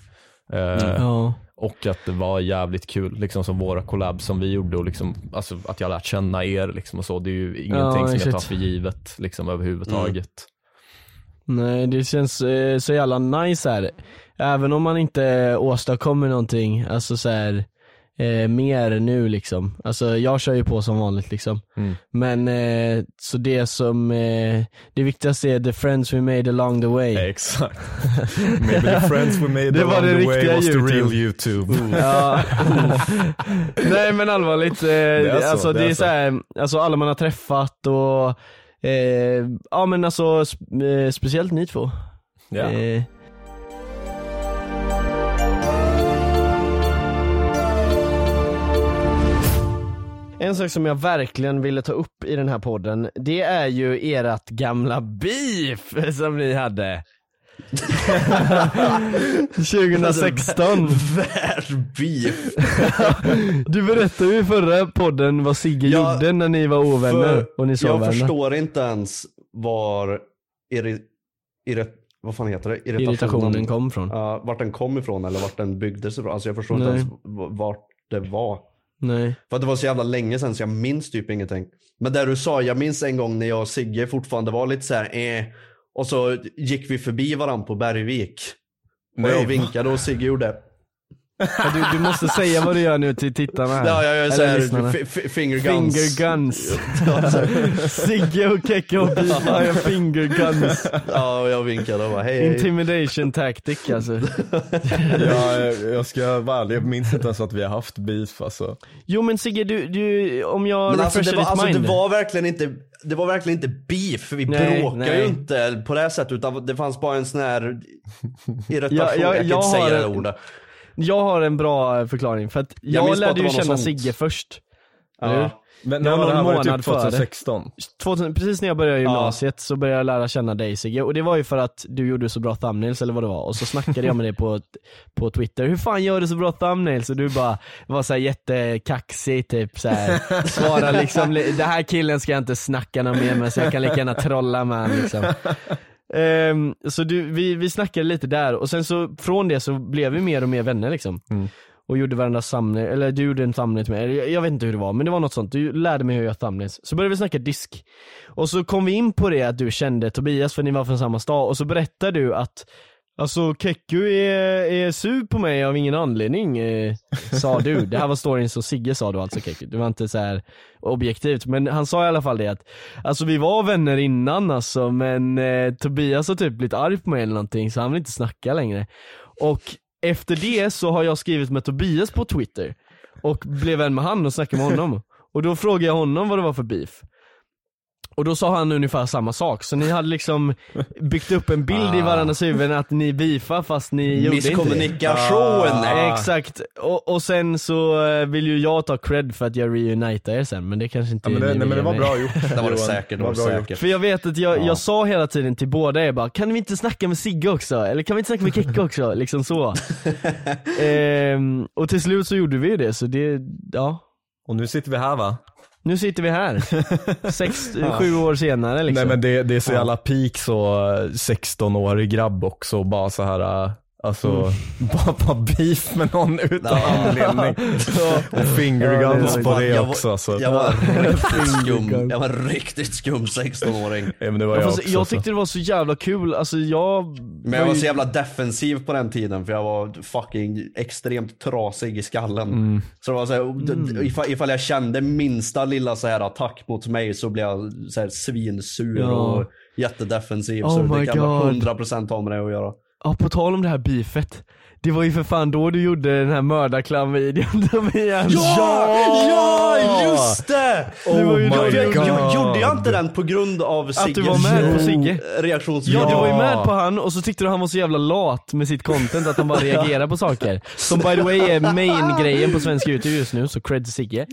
Speaker 3: Eh,
Speaker 1: Mm. Ja.
Speaker 3: Och att det var jävligt kul, liksom som våra collab som vi gjorde och liksom, alltså att jag lärt känna er liksom och så. Det är ju ingenting
Speaker 1: Ja,
Speaker 3: som jag
Speaker 1: shit.
Speaker 3: tar för givet liksom överhuvudtaget.
Speaker 1: Nej, det känns eh, så jävla nice här. Även om man inte åstadkommer någonting, alltså så här, eh, mer nu liksom. Alltså jag kör ju på som vanligt liksom.
Speaker 3: Mm.
Speaker 1: Men eh, så det som, eh, det viktigaste är the friends we made along the way.
Speaker 3: (laughs)
Speaker 1: (laughs)
Speaker 3: Exakt. Maybe the friends we made
Speaker 1: Mm. Det var
Speaker 3: along
Speaker 1: det
Speaker 3: the way
Speaker 1: riktiga
Speaker 3: was the real
Speaker 1: YouTube.
Speaker 3: YouTube.
Speaker 1: Ja. Nej men allvarligt, eh, det
Speaker 3: är så,
Speaker 1: alltså
Speaker 3: det
Speaker 1: det
Speaker 3: är
Speaker 1: är
Speaker 3: så.
Speaker 1: så här, alltså alla man har träffat och, eh, ja men alltså sp- eh, speciellt ni två.
Speaker 3: (laughs) Ja.
Speaker 1: Eh, En sak som jag verkligen ville ta upp i den här podden, det är ju ert gamla beef som ni
Speaker 2: (laughs)
Speaker 1: hade. 2016.
Speaker 2: (laughs) Världsbeef.
Speaker 1: Du berättade ju i förra podden vad Sigge
Speaker 2: Ja,
Speaker 1: gjorde när ni var ovänner och ni
Speaker 2: jag
Speaker 1: sov vänner.
Speaker 2: förstår inte ens var irri, irri, vad fan heter det?
Speaker 1: Irritationen kom från.
Speaker 2: Ja, vart den kom ifrån eller vart den byggdes ifrån. Alltså jag förstår
Speaker 1: Nej.
Speaker 2: inte ens v- vart det var.
Speaker 1: Nej.
Speaker 2: För att det var så jävla länge sedan så jag minns typ ingenting. Men det du sa, jag minns en gång när jag och Sigge fortfarande var lite så här, eh, och så gick vi förbi varandra på Bergvik. Och
Speaker 3: Nej,
Speaker 2: jag
Speaker 3: va?
Speaker 2: vinkade och Sigge gjorde
Speaker 1: Ja, Du, du måste säga vad du gör nu till tittarna här.
Speaker 2: Ja, jag gör
Speaker 1: Eller
Speaker 2: så här,
Speaker 1: lyssnarna.
Speaker 2: fi- fi- finger guns. (laughs)
Speaker 1: Finger guns. Sigge och Keke och Bifa har finger guns.
Speaker 2: Ja, och jag vinkade och bara hej. hej.
Speaker 1: Intimidation tactic alltså.
Speaker 3: jag, jag ska vara ärlig, jag minns inte ens att vi har haft beef alltså.
Speaker 1: Jo men Sigge, du, du om jag
Speaker 2: Men alltså, det,
Speaker 1: refreshar
Speaker 2: var,
Speaker 1: ditt
Speaker 2: alltså det,
Speaker 1: mind.
Speaker 2: var verkligen inte, det var verkligen inte beef, för vi
Speaker 1: Nej,
Speaker 2: bråkade
Speaker 1: nej.
Speaker 2: ju inte på det här sättet. Utan det fanns bara en sån här
Speaker 1: (laughs)
Speaker 2: irritation.
Speaker 1: Ja, ja,
Speaker 2: jag kan
Speaker 1: jag
Speaker 2: inte säga
Speaker 1: har-
Speaker 2: det här ordet.
Speaker 1: Jag har en bra eh, förklaring för att
Speaker 2: Jag
Speaker 1: jag,
Speaker 2: minns bara att
Speaker 1: lärde
Speaker 2: det
Speaker 1: ju
Speaker 2: var något
Speaker 1: känna
Speaker 2: sånt.
Speaker 1: Sigge först. Eller hur?
Speaker 3: Ja. Men
Speaker 1: Det
Speaker 3: när
Speaker 1: var
Speaker 3: var det här?
Speaker 1: någon
Speaker 3: Var det
Speaker 1: månad
Speaker 3: typ
Speaker 1: före.
Speaker 3: 2016?
Speaker 1: 2000, precis när jag började gymnasiet så började jag lära känna dig Sigge och det var ju för att du gjorde så bra thumbnails eller vad det var och så snackade jag med dig på, på Twitter, hur fan gör du så bra thumbnails? Och du bara var såhär jättekaxig typ såhär, svara liksom, li- den här killen ska jag inte snacka någon mer med så jag kan lika gärna trolla med han, liksom. Ehm, så du, vi, vi snackade lite där och sen så från det så blev vi mer och mer vänner liksom. Och gjorde varandra thumbnail, eller du gjorde en thumbnail till mig, Eller jag, jag vet inte hur det var men det var något sånt. Du lärde mig hur jag gör thumbnails. Så började vi snacka disk. Och så kom vi in på det att du kände Tobias för ni var från samma stad och så berättade du att Alltså Kekku är, är sur på mig av ingen anledning, eh, sa du. Det här var storyn som Sigge sa då alltså Kekku, det var inte så här objektivt. Men han sa i alla fall det att, alltså vi var vänner innan alltså men eh, Tobias har typ blivit arg på mig eller någonting så han vill inte snacka längre. Och efter det så har jag skrivit med Tobias på Twitter och blev vän med han och snackade med honom. Och då frågade jag honom vad det var för beef. Och då sa han ungefär samma sak, så ni hade liksom byggt upp en bild
Speaker 3: Ah.
Speaker 1: i varandras huvuden att ni beefar fast ni gjorde inte det.
Speaker 2: Misskommunikation!
Speaker 1: Ah. Exakt, och, och sen så eh, vill ju jag ta cred för att jag reunitar er sen men det kanske inte
Speaker 3: Ja, men det,
Speaker 1: ni
Speaker 3: nej,
Speaker 1: vill
Speaker 3: men det var
Speaker 1: ge mig.
Speaker 3: bra
Speaker 1: (laughs)
Speaker 3: gjort
Speaker 2: Det var det
Speaker 3: Johan.
Speaker 2: säkert, det var
Speaker 3: bra gjort.
Speaker 2: säkert.
Speaker 1: För jag vet att jag,
Speaker 2: Ja.
Speaker 1: jag sa hela tiden till båda er bara, kan vi inte snacka med Sigge också? Eller kan vi inte snacka med
Speaker 3: (laughs)
Speaker 1: Kekko också? Liksom så. ehm, och till slut så gjorde vi ju det, så det, ja.
Speaker 3: Och nu sitter vi här va?
Speaker 1: Nu sitter
Speaker 3: (laughs)
Speaker 1: vi här. Sex,
Speaker 3: Ja.
Speaker 1: sju år senare liksom.
Speaker 3: Nej men det, det är så
Speaker 1: Ja.
Speaker 3: jävla peak så eh, 16-årig grabb också och bara så här eh, Alltså,
Speaker 1: Mm.
Speaker 3: (laughs) bara, bara beef med någon utan anledning. Och fingerguns
Speaker 2: Ja,
Speaker 3: på
Speaker 2: fan,
Speaker 3: det
Speaker 2: jag var-
Speaker 3: också alltså. (laughs)
Speaker 2: Jag var riktigt skum, jag var en riktigt skum 16-åring.
Speaker 3: Ja, men det var
Speaker 1: jag,
Speaker 3: jag
Speaker 1: fast,
Speaker 3: också.
Speaker 1: jag
Speaker 3: alltså.
Speaker 1: tyckte det var så jävla kul, alltså jag
Speaker 2: Men jag var så jävla defensiv på den tiden för jag var fucking extremt trasig i skallen.
Speaker 3: Mm.
Speaker 2: Så det var så här, d-
Speaker 1: Mm.
Speaker 2: d- ifall, ifall jag kände minsta lilla så här attack mot mig så blev jag så här svinsur
Speaker 1: Ja.
Speaker 2: och jättedefensiv.
Speaker 1: Oh
Speaker 2: så
Speaker 1: my
Speaker 2: det kan man
Speaker 1: God.
Speaker 2: 100% ha med det att göra.
Speaker 1: Ja på tal om det här beefet Det var ju för fan då du gjorde den här mördarklam-videon (laughs) Tobias
Speaker 2: Ja, just det!
Speaker 1: Det var ju
Speaker 2: Gjorde
Speaker 1: då
Speaker 2: jag-
Speaker 1: du gjorde-
Speaker 2: gjorde- Gjorde jag inte den på grund av Sigges
Speaker 1: Oh Att du var med på Sigge?
Speaker 2: reaktionsvideo?
Speaker 1: Ja du var ju med på han och så tyckte du han var så jävla lat med sitt content att han bara reagerar på saker Som by the way är main-grejen på svensk youtube just nu, så cred till Sigge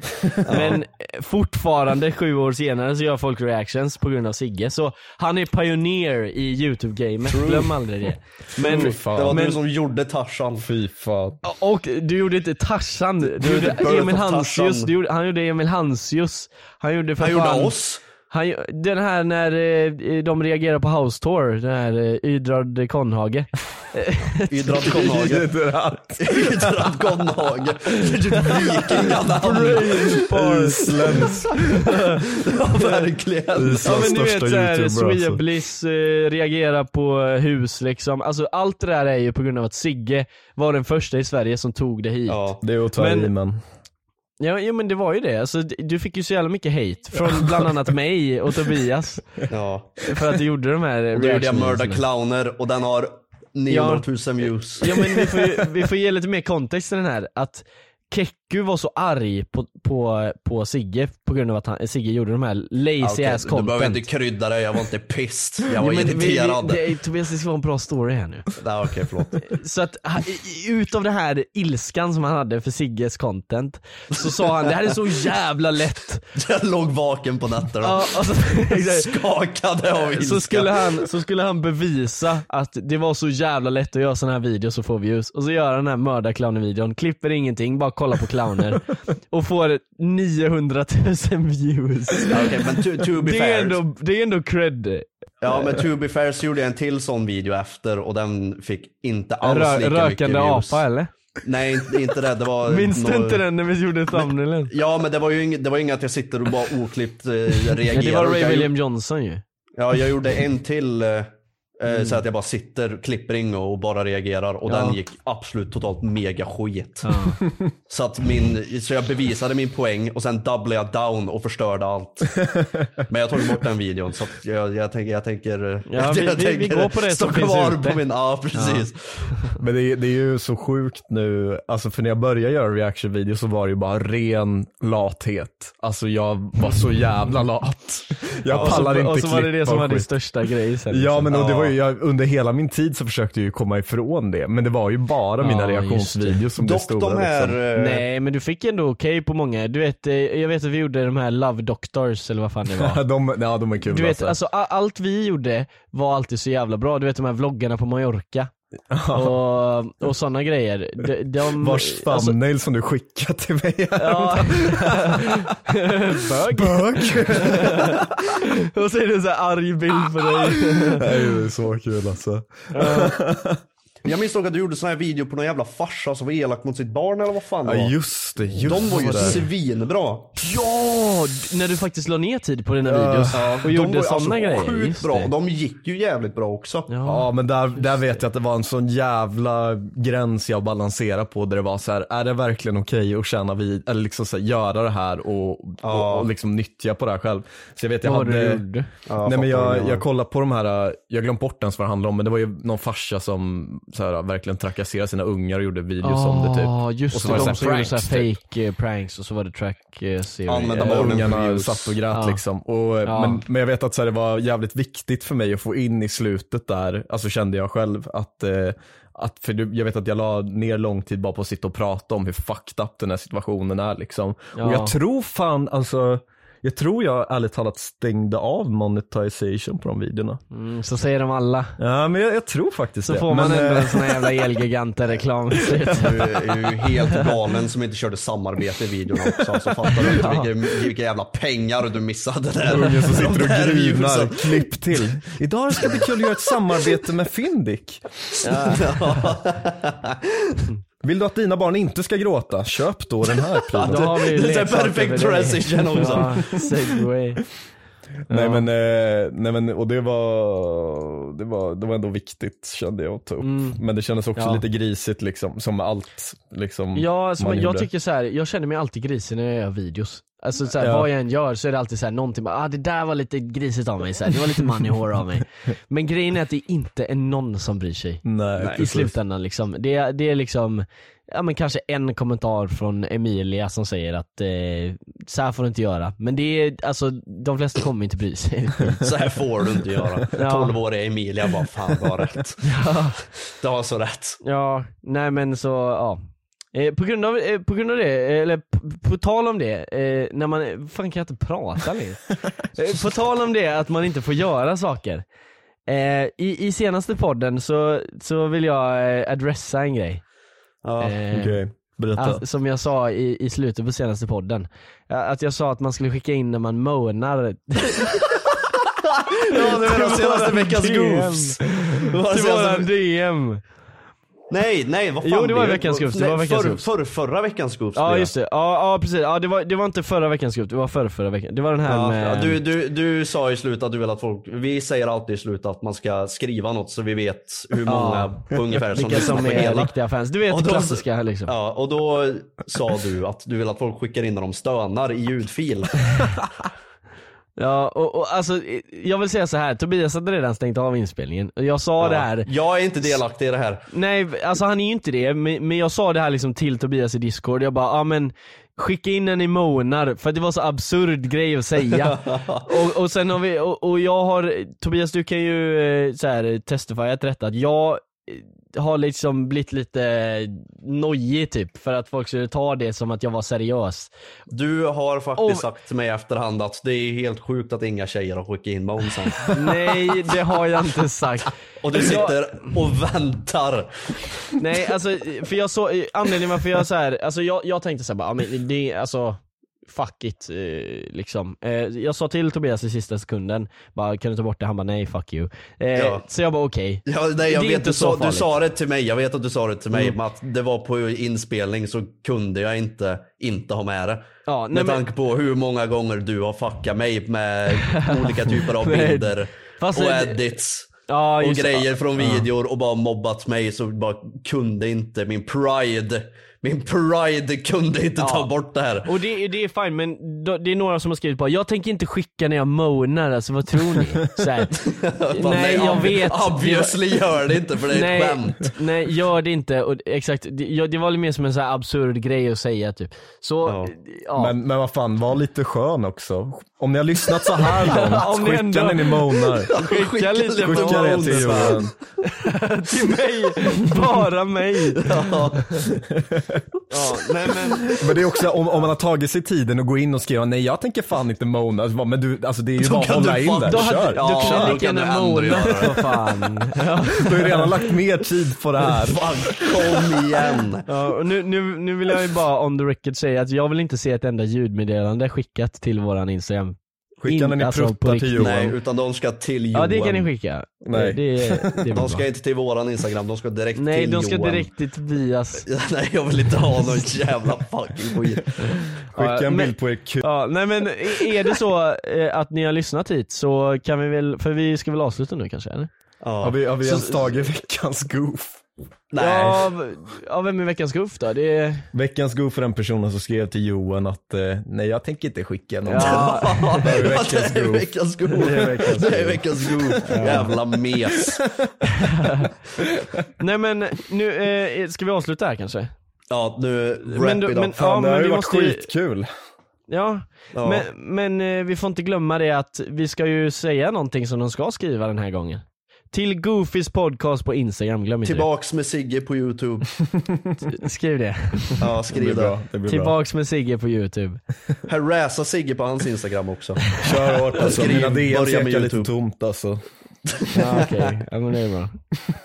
Speaker 1: Men eh, fortfarande sju år senare så gör folk reactions på grund av Sigge Så han är pioneer i youtube-gamet, glöm aldrig det Men,
Speaker 3: Fy fan.
Speaker 2: Det var
Speaker 1: men
Speaker 2: du som gjorde Tarzan.
Speaker 3: Fy fan.
Speaker 1: Och du gjorde inte Tarzan, du,
Speaker 2: gjorde
Speaker 1: gjorde
Speaker 2: Birth
Speaker 1: Emil
Speaker 2: of
Speaker 1: Hansius,
Speaker 2: Tarzan.
Speaker 1: du gjorde, han gjorde Emil Hansius Han gjorde för
Speaker 2: Han gjorde
Speaker 1: fan-
Speaker 2: oss.
Speaker 1: han, gör- den här när eh, de reagerar på House Tour, den här eh, Ydrad Konhage. (laughs)
Speaker 2: Ydrad Konhage. (laughs) Ydrad Konhage. Det är typ
Speaker 1: (laughs)
Speaker 2: vikinganamn.
Speaker 3: Isländsk.
Speaker 2: (laughs) Ja, Verkligen.
Speaker 1: Ja men
Speaker 3: Islands
Speaker 1: du
Speaker 3: största
Speaker 1: vet såhär,
Speaker 3: youtuber alltså.
Speaker 1: Swebliss eh, reagerar på eh, hus liksom. Alltså allt det där är ju på grund av att Sigge var den första i Sverige som tog det hit. Ja,
Speaker 3: Det är att ta
Speaker 1: Men-
Speaker 3: i men.
Speaker 1: ja, men det var ju det. Alltså, d- du fick ju så jävla mycket hate från bland annat mig och Tobias
Speaker 2: Ja.
Speaker 1: för att du gjorde de här
Speaker 2: (laughs) Och då gjorde jag
Speaker 1: reaction
Speaker 2: Mörda
Speaker 1: videorna.
Speaker 2: Clowner och den har 900 000 views.
Speaker 1: Ja men vi får, ju- vi får ge lite mer kontext till den här, att Kekku var så arg på, på, på Sigge på grund av att han, Sigge gjorde de här lazy
Speaker 2: Ja, okej,
Speaker 1: ass
Speaker 2: Du
Speaker 1: content.
Speaker 2: behöver inte krydda dig, jag var inte pissed. Jag
Speaker 1: Ja,
Speaker 2: var
Speaker 1: men vi- vi-
Speaker 2: irriterad.
Speaker 1: det, Tobias det ska vara en bra story här nu.
Speaker 2: Nej, Okej, förlåt.
Speaker 1: Så att han- i- utav den här ilskan som han hade för Sigges content så sa han det här är så jävla lätt.
Speaker 2: (laughs) Jag låg vaken på nätterna.
Speaker 1: Ja, och (laughs) så,
Speaker 2: Skakade av ilska.
Speaker 1: så, skulle han, så skulle han bevisa att det var så jävla lätt att göra sådana här videos så får vi ljus. Och så gör han den här mördarclownen-videon, klipper ingenting, bara kollar på (laughs) clowner och får 900 000 views.
Speaker 2: Ja, Okej, men to, to be
Speaker 1: Det
Speaker 2: fair.
Speaker 1: är, ändå, det är ändå cred.
Speaker 2: Ja,
Speaker 1: Eh.
Speaker 2: men to be fair så gjorde jag en till sån video efter och den fick inte alls
Speaker 1: Rö
Speaker 2: lika
Speaker 1: rökande
Speaker 2: mycket views.
Speaker 1: apa eller?
Speaker 2: Nej, inte, inte det. Det var...
Speaker 1: (laughs) Minns du
Speaker 2: nå-
Speaker 1: inte den när vi gjorde thumbnailen?
Speaker 2: Ja, men det var ju inget, det var inget att jag sitter och bara oklippt eh,
Speaker 1: (laughs)
Speaker 2: reagerar.
Speaker 1: Nej, det var Ray
Speaker 2: Jag-
Speaker 1: William Johnson ju.
Speaker 2: Ja, jag
Speaker 1: (laughs)
Speaker 2: gjorde en till eh, eh, så att jag bara sitter, klipper in och bara reagerar och
Speaker 1: Mm. Ja.
Speaker 2: den gick absolut totalt mega skit. (laughs) Så, att min, så jag bevisade min poäng och sen doublade jag down och
Speaker 1: (laughs)
Speaker 2: förstörde allt. Men jag tog bort den videon så att jag, jag tänker, jag tänker,
Speaker 1: Ja, vi-
Speaker 2: (laughs) jag
Speaker 1: vi- vi går på det
Speaker 2: stå
Speaker 1: som finns
Speaker 2: kvar
Speaker 1: ute.
Speaker 2: på min, ja precis.
Speaker 3: Men det, är- det är ju så sjukt nu, alltså för när jag började göra reaction-videos så var det ju bara ren lathet. Alltså jag var så jävla lat. Jag
Speaker 1: Och så-
Speaker 3: pallade inte
Speaker 1: Och så var det
Speaker 3: klippa
Speaker 1: det som
Speaker 3: och
Speaker 1: var din
Speaker 3: skit.
Speaker 1: största grej sen.
Speaker 3: Ja
Speaker 1: liksom.
Speaker 3: men och det var ju, jag, under hela min tid så försökte jag ju komma ifrån det. Men det var ju bara mina
Speaker 1: Ja, just
Speaker 3: reaktionsvideos som blev
Speaker 2: Dock
Speaker 3: stora.
Speaker 2: de här,
Speaker 3: liksom. (laughs)
Speaker 2: eh,
Speaker 1: Nej men du fick ändå okej på många, du vet, eh, jag vet att vi gjorde de här Love Doctors eller vad
Speaker 3: (laughs)
Speaker 1: fan det var
Speaker 3: de, ja, de är kul alltså.
Speaker 1: alltså, Du vet, alltså a- allt vi gjorde var alltid så jävla bra, du vet de här vloggarna på Mallorca och, och sådana grejer. De, de,
Speaker 3: Vars thumbnail som du skickade till mig
Speaker 1: alltså- Ja.
Speaker 3: (laughs)
Speaker 1: Bög.
Speaker 3: Bög.
Speaker 1: och så är det en sån här arg bild på dig.
Speaker 3: Nej, det är så kul alltså.
Speaker 2: Jag minns dock att du gjorde sån här video på någon jävla farsa som var elak mot sitt barn eller vad fan det
Speaker 3: Ja
Speaker 2: var.
Speaker 3: just det, just
Speaker 2: De var ju
Speaker 3: det.
Speaker 2: svinbra.
Speaker 1: Ja, d- när du faktiskt la ner tid på dina
Speaker 2: Eh,
Speaker 1: videos och
Speaker 2: de var
Speaker 1: gjorde
Speaker 2: ju
Speaker 3: alltså,
Speaker 1: sådana grejer.
Speaker 2: alltså Sjukt
Speaker 1: Just
Speaker 2: bra.
Speaker 1: det.
Speaker 2: De gick ju jävligt bra också.
Speaker 3: Ja men där, där vet jag att det var en sån jävla gräns jag balanserade på där det var så här: är det verkligen okej att tjäna vid, eller liksom så här, göra det här och, och, och liksom nyttja på det här själv. Så jag vet jag
Speaker 1: Vad var det
Speaker 3: hade,
Speaker 1: du gjorde?
Speaker 2: Ja,
Speaker 3: nej men
Speaker 2: fattar vad du
Speaker 3: jag,
Speaker 2: menar.
Speaker 3: jag kollade på de här, jag glömde bort ens vad det handlade om men det var ju någon farsa som så här, verkligen trakasserade sina ungar och gjorde videos om det typ.
Speaker 1: Ja,
Speaker 3: och
Speaker 1: just
Speaker 3: så
Speaker 1: det.
Speaker 3: var
Speaker 1: De
Speaker 3: det
Speaker 1: som
Speaker 3: så här
Speaker 1: gjorde så
Speaker 3: pranks,
Speaker 1: här
Speaker 3: typ.
Speaker 1: fake eh, pranks och så var det track eh, series.
Speaker 2: Använda
Speaker 1: Eh,
Speaker 3: Där
Speaker 2: barnen för
Speaker 3: ungarna
Speaker 2: views.
Speaker 3: satt och grät
Speaker 1: Ja.
Speaker 3: liksom. Och,
Speaker 1: Ja.
Speaker 3: men, men jag vet att så här, det var jävligt viktigt för mig att få in i slutet där, alltså kände jag själv att, eh, att för du- jag vet att jag la ner lång tid bara på att sitta och prata om hur fucked up den här situationen är liksom.
Speaker 1: Ja.
Speaker 3: Och jag tror fan alltså, jag tror jag ärligt talat stängde av monetization på de videorna.
Speaker 1: Mm, så säger de alla.
Speaker 3: Ja men jag, jag tror faktiskt
Speaker 1: Så
Speaker 3: det.
Speaker 1: får man
Speaker 3: men,
Speaker 1: ändå
Speaker 3: eh,
Speaker 1: en sån här jävla
Speaker 3: (laughs)
Speaker 1: Elgiganten-reklam.
Speaker 2: Du är ju helt galen som inte körde samarbete i videorna också. Alltså, fattar du inte vilka, vilka jävla pengar du missade där?
Speaker 3: Ungen som sitter
Speaker 2: De där
Speaker 3: och
Speaker 2: viewsen.
Speaker 3: grinar, klipp till. Idag ska vi kul göra ett samarbete med Findic. Vill du att dina barn inte ska gråta, köp då den här
Speaker 1: Då
Speaker 3: prylen.
Speaker 1: har vi ju
Speaker 2: Det är
Speaker 1: leksaker
Speaker 2: perfect
Speaker 1: för dig.
Speaker 2: transition också.
Speaker 1: Ja, segway.
Speaker 3: Nej men, eh, nej men och det var, det var, det var ändå viktigt kände jag att ta upp. Men det kändes också
Speaker 1: Mm. Ja.
Speaker 3: lite grisigt liksom, som med allt liksom
Speaker 1: Ja, alltså,
Speaker 3: man
Speaker 1: men jag
Speaker 3: gjorde.
Speaker 1: tycker så här, jag känner mig alltid grisig när jag gör videos. Alltså så här,
Speaker 3: Ja.
Speaker 1: vad jag än gör så är det alltid så här, någonting bara, ah, det där var lite grisigt av mig, så här, det var lite money
Speaker 3: (laughs)
Speaker 1: whore av mig. Men grejen är att det inte är någon som bryr sig.
Speaker 3: Nej,
Speaker 1: I
Speaker 3: precis.
Speaker 1: slutändan liksom. Det, är- det är liksom, ja men kanske en kommentar från Emilia som säger att eh, så här får du inte göra. Men det är, alltså de flesta kommer inte
Speaker 3: (laughs)
Speaker 1: bry sig.
Speaker 2: Så här får du inte göra.
Speaker 1: Ja.
Speaker 2: 12-åriga Emilia bara, fan du har rätt. Du har så rätt.
Speaker 1: Ja, nej men så, ja. Eh, på, grund av, eh, på grund av det, eh, eller på, på tal om det, eh, när man, fan kan jag inte
Speaker 3: (laughs)
Speaker 1: prata längre? eh, på tal om det att man inte får göra saker. Eh, i, I senaste podden så, så vill jag eh, adressa en grej.
Speaker 2: Ja,
Speaker 1: Eh,
Speaker 3: Okej, berätta.
Speaker 1: Alltså, som jag sa i, i slutet på senaste podden. Ja, Att jag sa att man skulle skicka in när man (laughs) moanar.
Speaker 2: Ja, det var den senaste
Speaker 1: våran
Speaker 2: veckans
Speaker 1: DM.
Speaker 2: goofs. Det var den
Speaker 1: Till
Speaker 2: senaste-
Speaker 1: våran DM.
Speaker 2: Nej, nej vad fan.
Speaker 1: Jo, det var
Speaker 2: är-
Speaker 1: veckans goofs, det
Speaker 2: nej,
Speaker 1: var veckans
Speaker 2: förr-
Speaker 1: goofs.
Speaker 2: förr- förra veckans goofs.
Speaker 1: Ja
Speaker 2: blev.
Speaker 1: just det, ja, ja precis. Ja, det, var, det var inte förra veckans grupp, det var förra, förra veckan. Det var den här
Speaker 2: Ja,
Speaker 1: med...
Speaker 2: ja, du, du, du sa i slutet att du vill att folk, vi säger alltid i slutet att man ska skriva något så vi vet hur många på ungefär som
Speaker 1: vilka
Speaker 2: lyssnar
Speaker 1: som
Speaker 2: på
Speaker 1: är
Speaker 2: hela.
Speaker 1: riktiga fans. Du vet
Speaker 2: Och då-
Speaker 1: klassiska liksom.
Speaker 2: Ja, och då sa du att du vill att folk skickar in när de stönar i
Speaker 1: (laughs)
Speaker 2: ljudfil.
Speaker 1: Ja, och, och alltså, eh, jag vill säga så här. Tobias hade redan stängt av inspelningen. Och Jag sa det här,
Speaker 2: Jag är inte delaktig i det här.
Speaker 1: nej alltså han är ju inte det, men, men jag sa det här liksom till Tobias i discord. Jag bara, ja ah, men skicka in en i monar, för att det var så absurd grej att (laughs) säga. och, och sen har vi, och, och jag har, Tobias du kan ju eh, så här, testifiat detta, att jag eh, har liksom blivit lite nojig typ för att folk skulle ta det som att jag var seriös.
Speaker 2: Du har faktiskt
Speaker 1: Och-
Speaker 2: sagt till mig i efterhand att det är helt sjukt att inga tjejer har skickat in momsen.
Speaker 1: Nej det har jag inte sagt.
Speaker 2: Och du sitter och väntar.
Speaker 1: Nej, alltså för jag så, anledningen varför jag så här, alltså jag, jag tänkte så här, bara, ja, men det, alltså fuck it eh, liksom. Eh, jag sa till Tobias i sista sekunden, bara kan du ta bort det? Han bara nej fuck you. Eh,
Speaker 2: Ja.
Speaker 1: Så jag bara okej.
Speaker 2: Ja, nej, jag
Speaker 1: Det är
Speaker 2: vet,
Speaker 1: inte
Speaker 2: du,
Speaker 1: så
Speaker 2: sa, du
Speaker 1: farligt. Mm.
Speaker 2: sa det till mig, jag vet att du sa det till mig, men att det var på inspelning så kunde jag inte inte ha med det.
Speaker 1: Ja, nej,
Speaker 2: med
Speaker 1: men-
Speaker 2: tanke på hur många gånger du har fuckat
Speaker 1: (laughs)
Speaker 2: mig med olika typer av
Speaker 1: Nej.
Speaker 2: bilder
Speaker 1: Fast
Speaker 2: och
Speaker 1: det-
Speaker 2: edits.
Speaker 1: Ja,
Speaker 2: och
Speaker 1: just det.
Speaker 2: grejer från videor och bara mobbat mig så bara kunde inte min pride, min pride kunde inte ta bort det här.
Speaker 1: Och det, det är fine men då- det är några som har skrivit bara, jag tänker inte skicka när jag moanar alltså vad tror
Speaker 2: (laughs)
Speaker 1: ni? Så här,
Speaker 2: Bara,
Speaker 1: nej jag
Speaker 2: ob-
Speaker 1: vet.
Speaker 2: Obviously gör det inte för det är
Speaker 1: nej,
Speaker 2: ett skämt.
Speaker 1: Nej, gör det inte. Och, exakt, det, ja, det var lite mer som en så här absurd grej att säga typ. Så, ja.
Speaker 3: Men, men vad fan, var lite skön också. Om ni har lyssnat så
Speaker 1: (laughs)
Speaker 3: här långt,
Speaker 1: Om ni ändå-
Speaker 3: skicka ni ni
Speaker 1: (laughs)
Speaker 3: monar.
Speaker 1: Skicka lite
Speaker 3: Skicka det till
Speaker 2: (laughs)
Speaker 3: Johan.
Speaker 1: (laughs) till mig, bara mig.
Speaker 2: Ja, nej, men...
Speaker 3: Men det är också om, om man har tagit sig tiden att gå in och skriva nej jag tänker fan inte mona, Alltså, bara, men du, alltså det är ju
Speaker 2: Då
Speaker 3: bara att
Speaker 2: kan du
Speaker 3: hålla in
Speaker 2: fan-
Speaker 3: där,
Speaker 2: då hade-
Speaker 3: kör.
Speaker 2: då kan Ja, du då lika kan gärna du ändå mona. göra det.
Speaker 3: Vad Du har ju redan lagt mer tid på det här.
Speaker 2: kom
Speaker 1: (laughs)
Speaker 2: igen.
Speaker 1: Ja, och nu, nu, nu vill jag ju bara on the record säga att jag vill inte se ett enda ljudmeddelande skickat till våran Instagram.
Speaker 2: Skicka när ni pruttar till Johan. Nej,
Speaker 1: utan
Speaker 2: de ska till
Speaker 1: Ja det
Speaker 2: Johan.
Speaker 1: kan ni skicka.
Speaker 2: Nej.
Speaker 1: Det, det, det är
Speaker 2: (laughs) de
Speaker 1: bra.
Speaker 2: ska inte till våran instagram, de ska direkt
Speaker 1: Nej
Speaker 2: till
Speaker 1: de ska
Speaker 2: Johan.
Speaker 1: direkt till Tobias.
Speaker 2: (laughs) Nej jag vill inte ha någon jävla fucking skit.
Speaker 1: Ja, men-
Speaker 3: på er kuk.
Speaker 1: Ja, nej men i- är det så eh, att ni har lyssnat hit så kan vi väl, för vi ska väl avsluta nu kanske eller?
Speaker 3: Har vi, har vi ens tagit veckans goof?
Speaker 2: (laughs)
Speaker 1: Ja, v- ja vem är veckans goof då? Det är...
Speaker 3: Veckans goof för den personen som skrev till Johan att eh, nej jag tänker inte skicka någon.
Speaker 1: Ja.
Speaker 3: Det är
Speaker 2: Ja,
Speaker 3: veckans
Speaker 2: det är
Speaker 3: goof.
Speaker 2: veckans goof.
Speaker 3: Det är veckans
Speaker 2: Det är
Speaker 3: goof.
Speaker 2: veckans goof. Jävla mes.
Speaker 1: Nej men nu, eh, ska vi avsluta här kanske?
Speaker 2: Ja nu, wrap
Speaker 1: Men du-
Speaker 2: it up.
Speaker 1: men- Fan, ja, det här men har ju vi varit måste ju-
Speaker 3: skitkul.
Speaker 1: Ja,
Speaker 2: Ja.
Speaker 1: Men, men eh, vi får inte glömma det att vi ska ju säga någonting som de ska skriva den här gången. Till Goofys podcast på Instagram, glöm inte
Speaker 2: Tillbaks med Sigge på youtube.
Speaker 1: det. Skriv det.
Speaker 2: Ja skriv det.
Speaker 1: Tillbaks med Sigge på youtube.
Speaker 2: Harassa Sigge på hans instagram också.
Speaker 3: Kör hårt alltså,
Speaker 2: Skriv,
Speaker 3: mina DMs
Speaker 2: börja med
Speaker 3: ekar lite
Speaker 2: YouTube.
Speaker 3: tomt alltså.
Speaker 1: Ja, Okej, ja, men det är bra.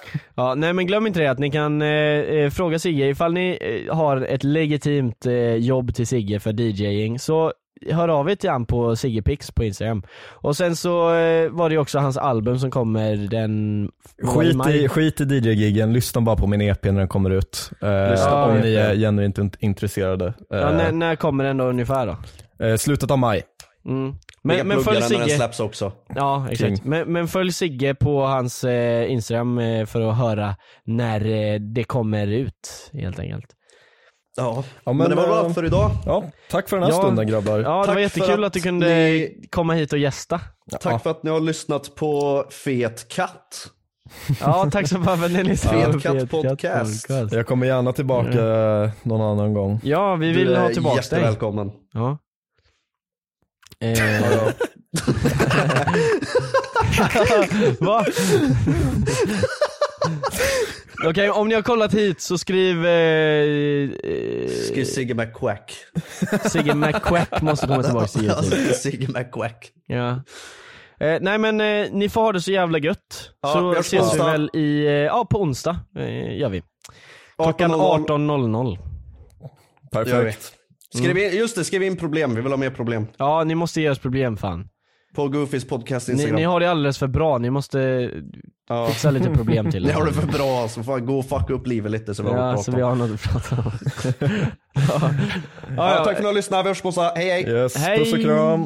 Speaker 1: (laughs) Ja, nej men glöm inte det att ni kan eh, eh, fråga Sigge ifall ni eh, har ett legitimt eh, jobb till Sigge för DJing så hör av er till han på Siggepix på Instagram. Och sen så eh, var det ju också hans album som kommer den...
Speaker 3: Skit
Speaker 1: maj.
Speaker 3: i, skit i DJ-giggen, lyssna bara på min EP när den kommer ut. Eh,
Speaker 1: Lyssna på
Speaker 3: om
Speaker 1: min
Speaker 2: E
Speaker 3: ni
Speaker 1: EP.
Speaker 3: är genuint int- intresserade. Eh,
Speaker 1: Ja, när, när kommer den då ungefär då?
Speaker 3: eh, slutet av maj.
Speaker 1: Mm.
Speaker 2: Jag
Speaker 1: Men, men
Speaker 2: pluggar
Speaker 1: följ
Speaker 2: den när den
Speaker 1: Sigge.
Speaker 2: släpps också.
Speaker 1: Ja, exakt.
Speaker 2: King.
Speaker 1: Men, men följ Sigge på hans eh, Instagram eh, för att höra när eh, det kommer ut helt enkelt.
Speaker 2: Ja,
Speaker 3: Ja,
Speaker 2: men, det var bra
Speaker 3: eh,
Speaker 2: för idag.
Speaker 3: Ja, tack för den här
Speaker 1: Ja.
Speaker 3: stunden grabbar.
Speaker 1: Ja, det
Speaker 2: Tack
Speaker 1: var
Speaker 2: för
Speaker 1: jättekul att,
Speaker 2: att
Speaker 1: du kunde
Speaker 2: ni-
Speaker 1: komma hit och gästa.
Speaker 2: Tack för att ni har lyssnat på Fet katt.
Speaker 1: (laughs) Ja, tack så mycket för att ni lyssnade.
Speaker 2: Fet Katt Podcast.
Speaker 3: Jag kommer gärna tillbaka eh, någon annan gång.
Speaker 1: Ja, vi vill
Speaker 2: Du är
Speaker 1: ha tillbaka dig.
Speaker 2: jättevälkommen.
Speaker 1: Ja. Eh,
Speaker 3: Ja,
Speaker 1: (laughs) Va? Okej, om ni har kollat hit så skriv... Eh, eh,
Speaker 2: Skriv Sigge McQuack.
Speaker 1: Sigge McQuack måste komma tillbaka (laughs) till
Speaker 2: Alltså,
Speaker 1: YouTube.
Speaker 2: (laughs) Sigge McQuack.
Speaker 1: Ja. Eh, nej men eh, ni får ha det så jävla gött.
Speaker 2: Ja, vi
Speaker 1: så
Speaker 2: hörs på
Speaker 1: ses vi
Speaker 2: onsdag.
Speaker 1: väl i, eh, ja på onsdag eh, gör vi. Klockan
Speaker 2: 18.00.
Speaker 1: 18.00.
Speaker 2: Gör vi.
Speaker 3: Perfekt.
Speaker 2: Skriv
Speaker 1: Mm.
Speaker 2: in, just det, skriv in problem. Vi vill ha mer problem.
Speaker 1: Ja ni måste ge oss problem fan.
Speaker 2: På Goofys podcast
Speaker 1: Ni,
Speaker 2: Instagram.
Speaker 1: ni har det alldeles för bra, ni måste
Speaker 2: Ja.
Speaker 1: fixa lite problem
Speaker 2: (laughs)
Speaker 1: till
Speaker 2: Ni
Speaker 1: er.
Speaker 2: har det för bra alltså. Fan, gå och fucka upp livet lite så vi har något
Speaker 1: Ja,
Speaker 2: att
Speaker 1: så
Speaker 2: prata
Speaker 1: vi
Speaker 2: om.
Speaker 1: har något att prata om.
Speaker 2: ja,
Speaker 1: ja.
Speaker 2: Tack för att ni har lyssnat. Vi hörs på onsdag. Hej hej.
Speaker 3: Yes,
Speaker 1: Hej.
Speaker 3: puss och kram.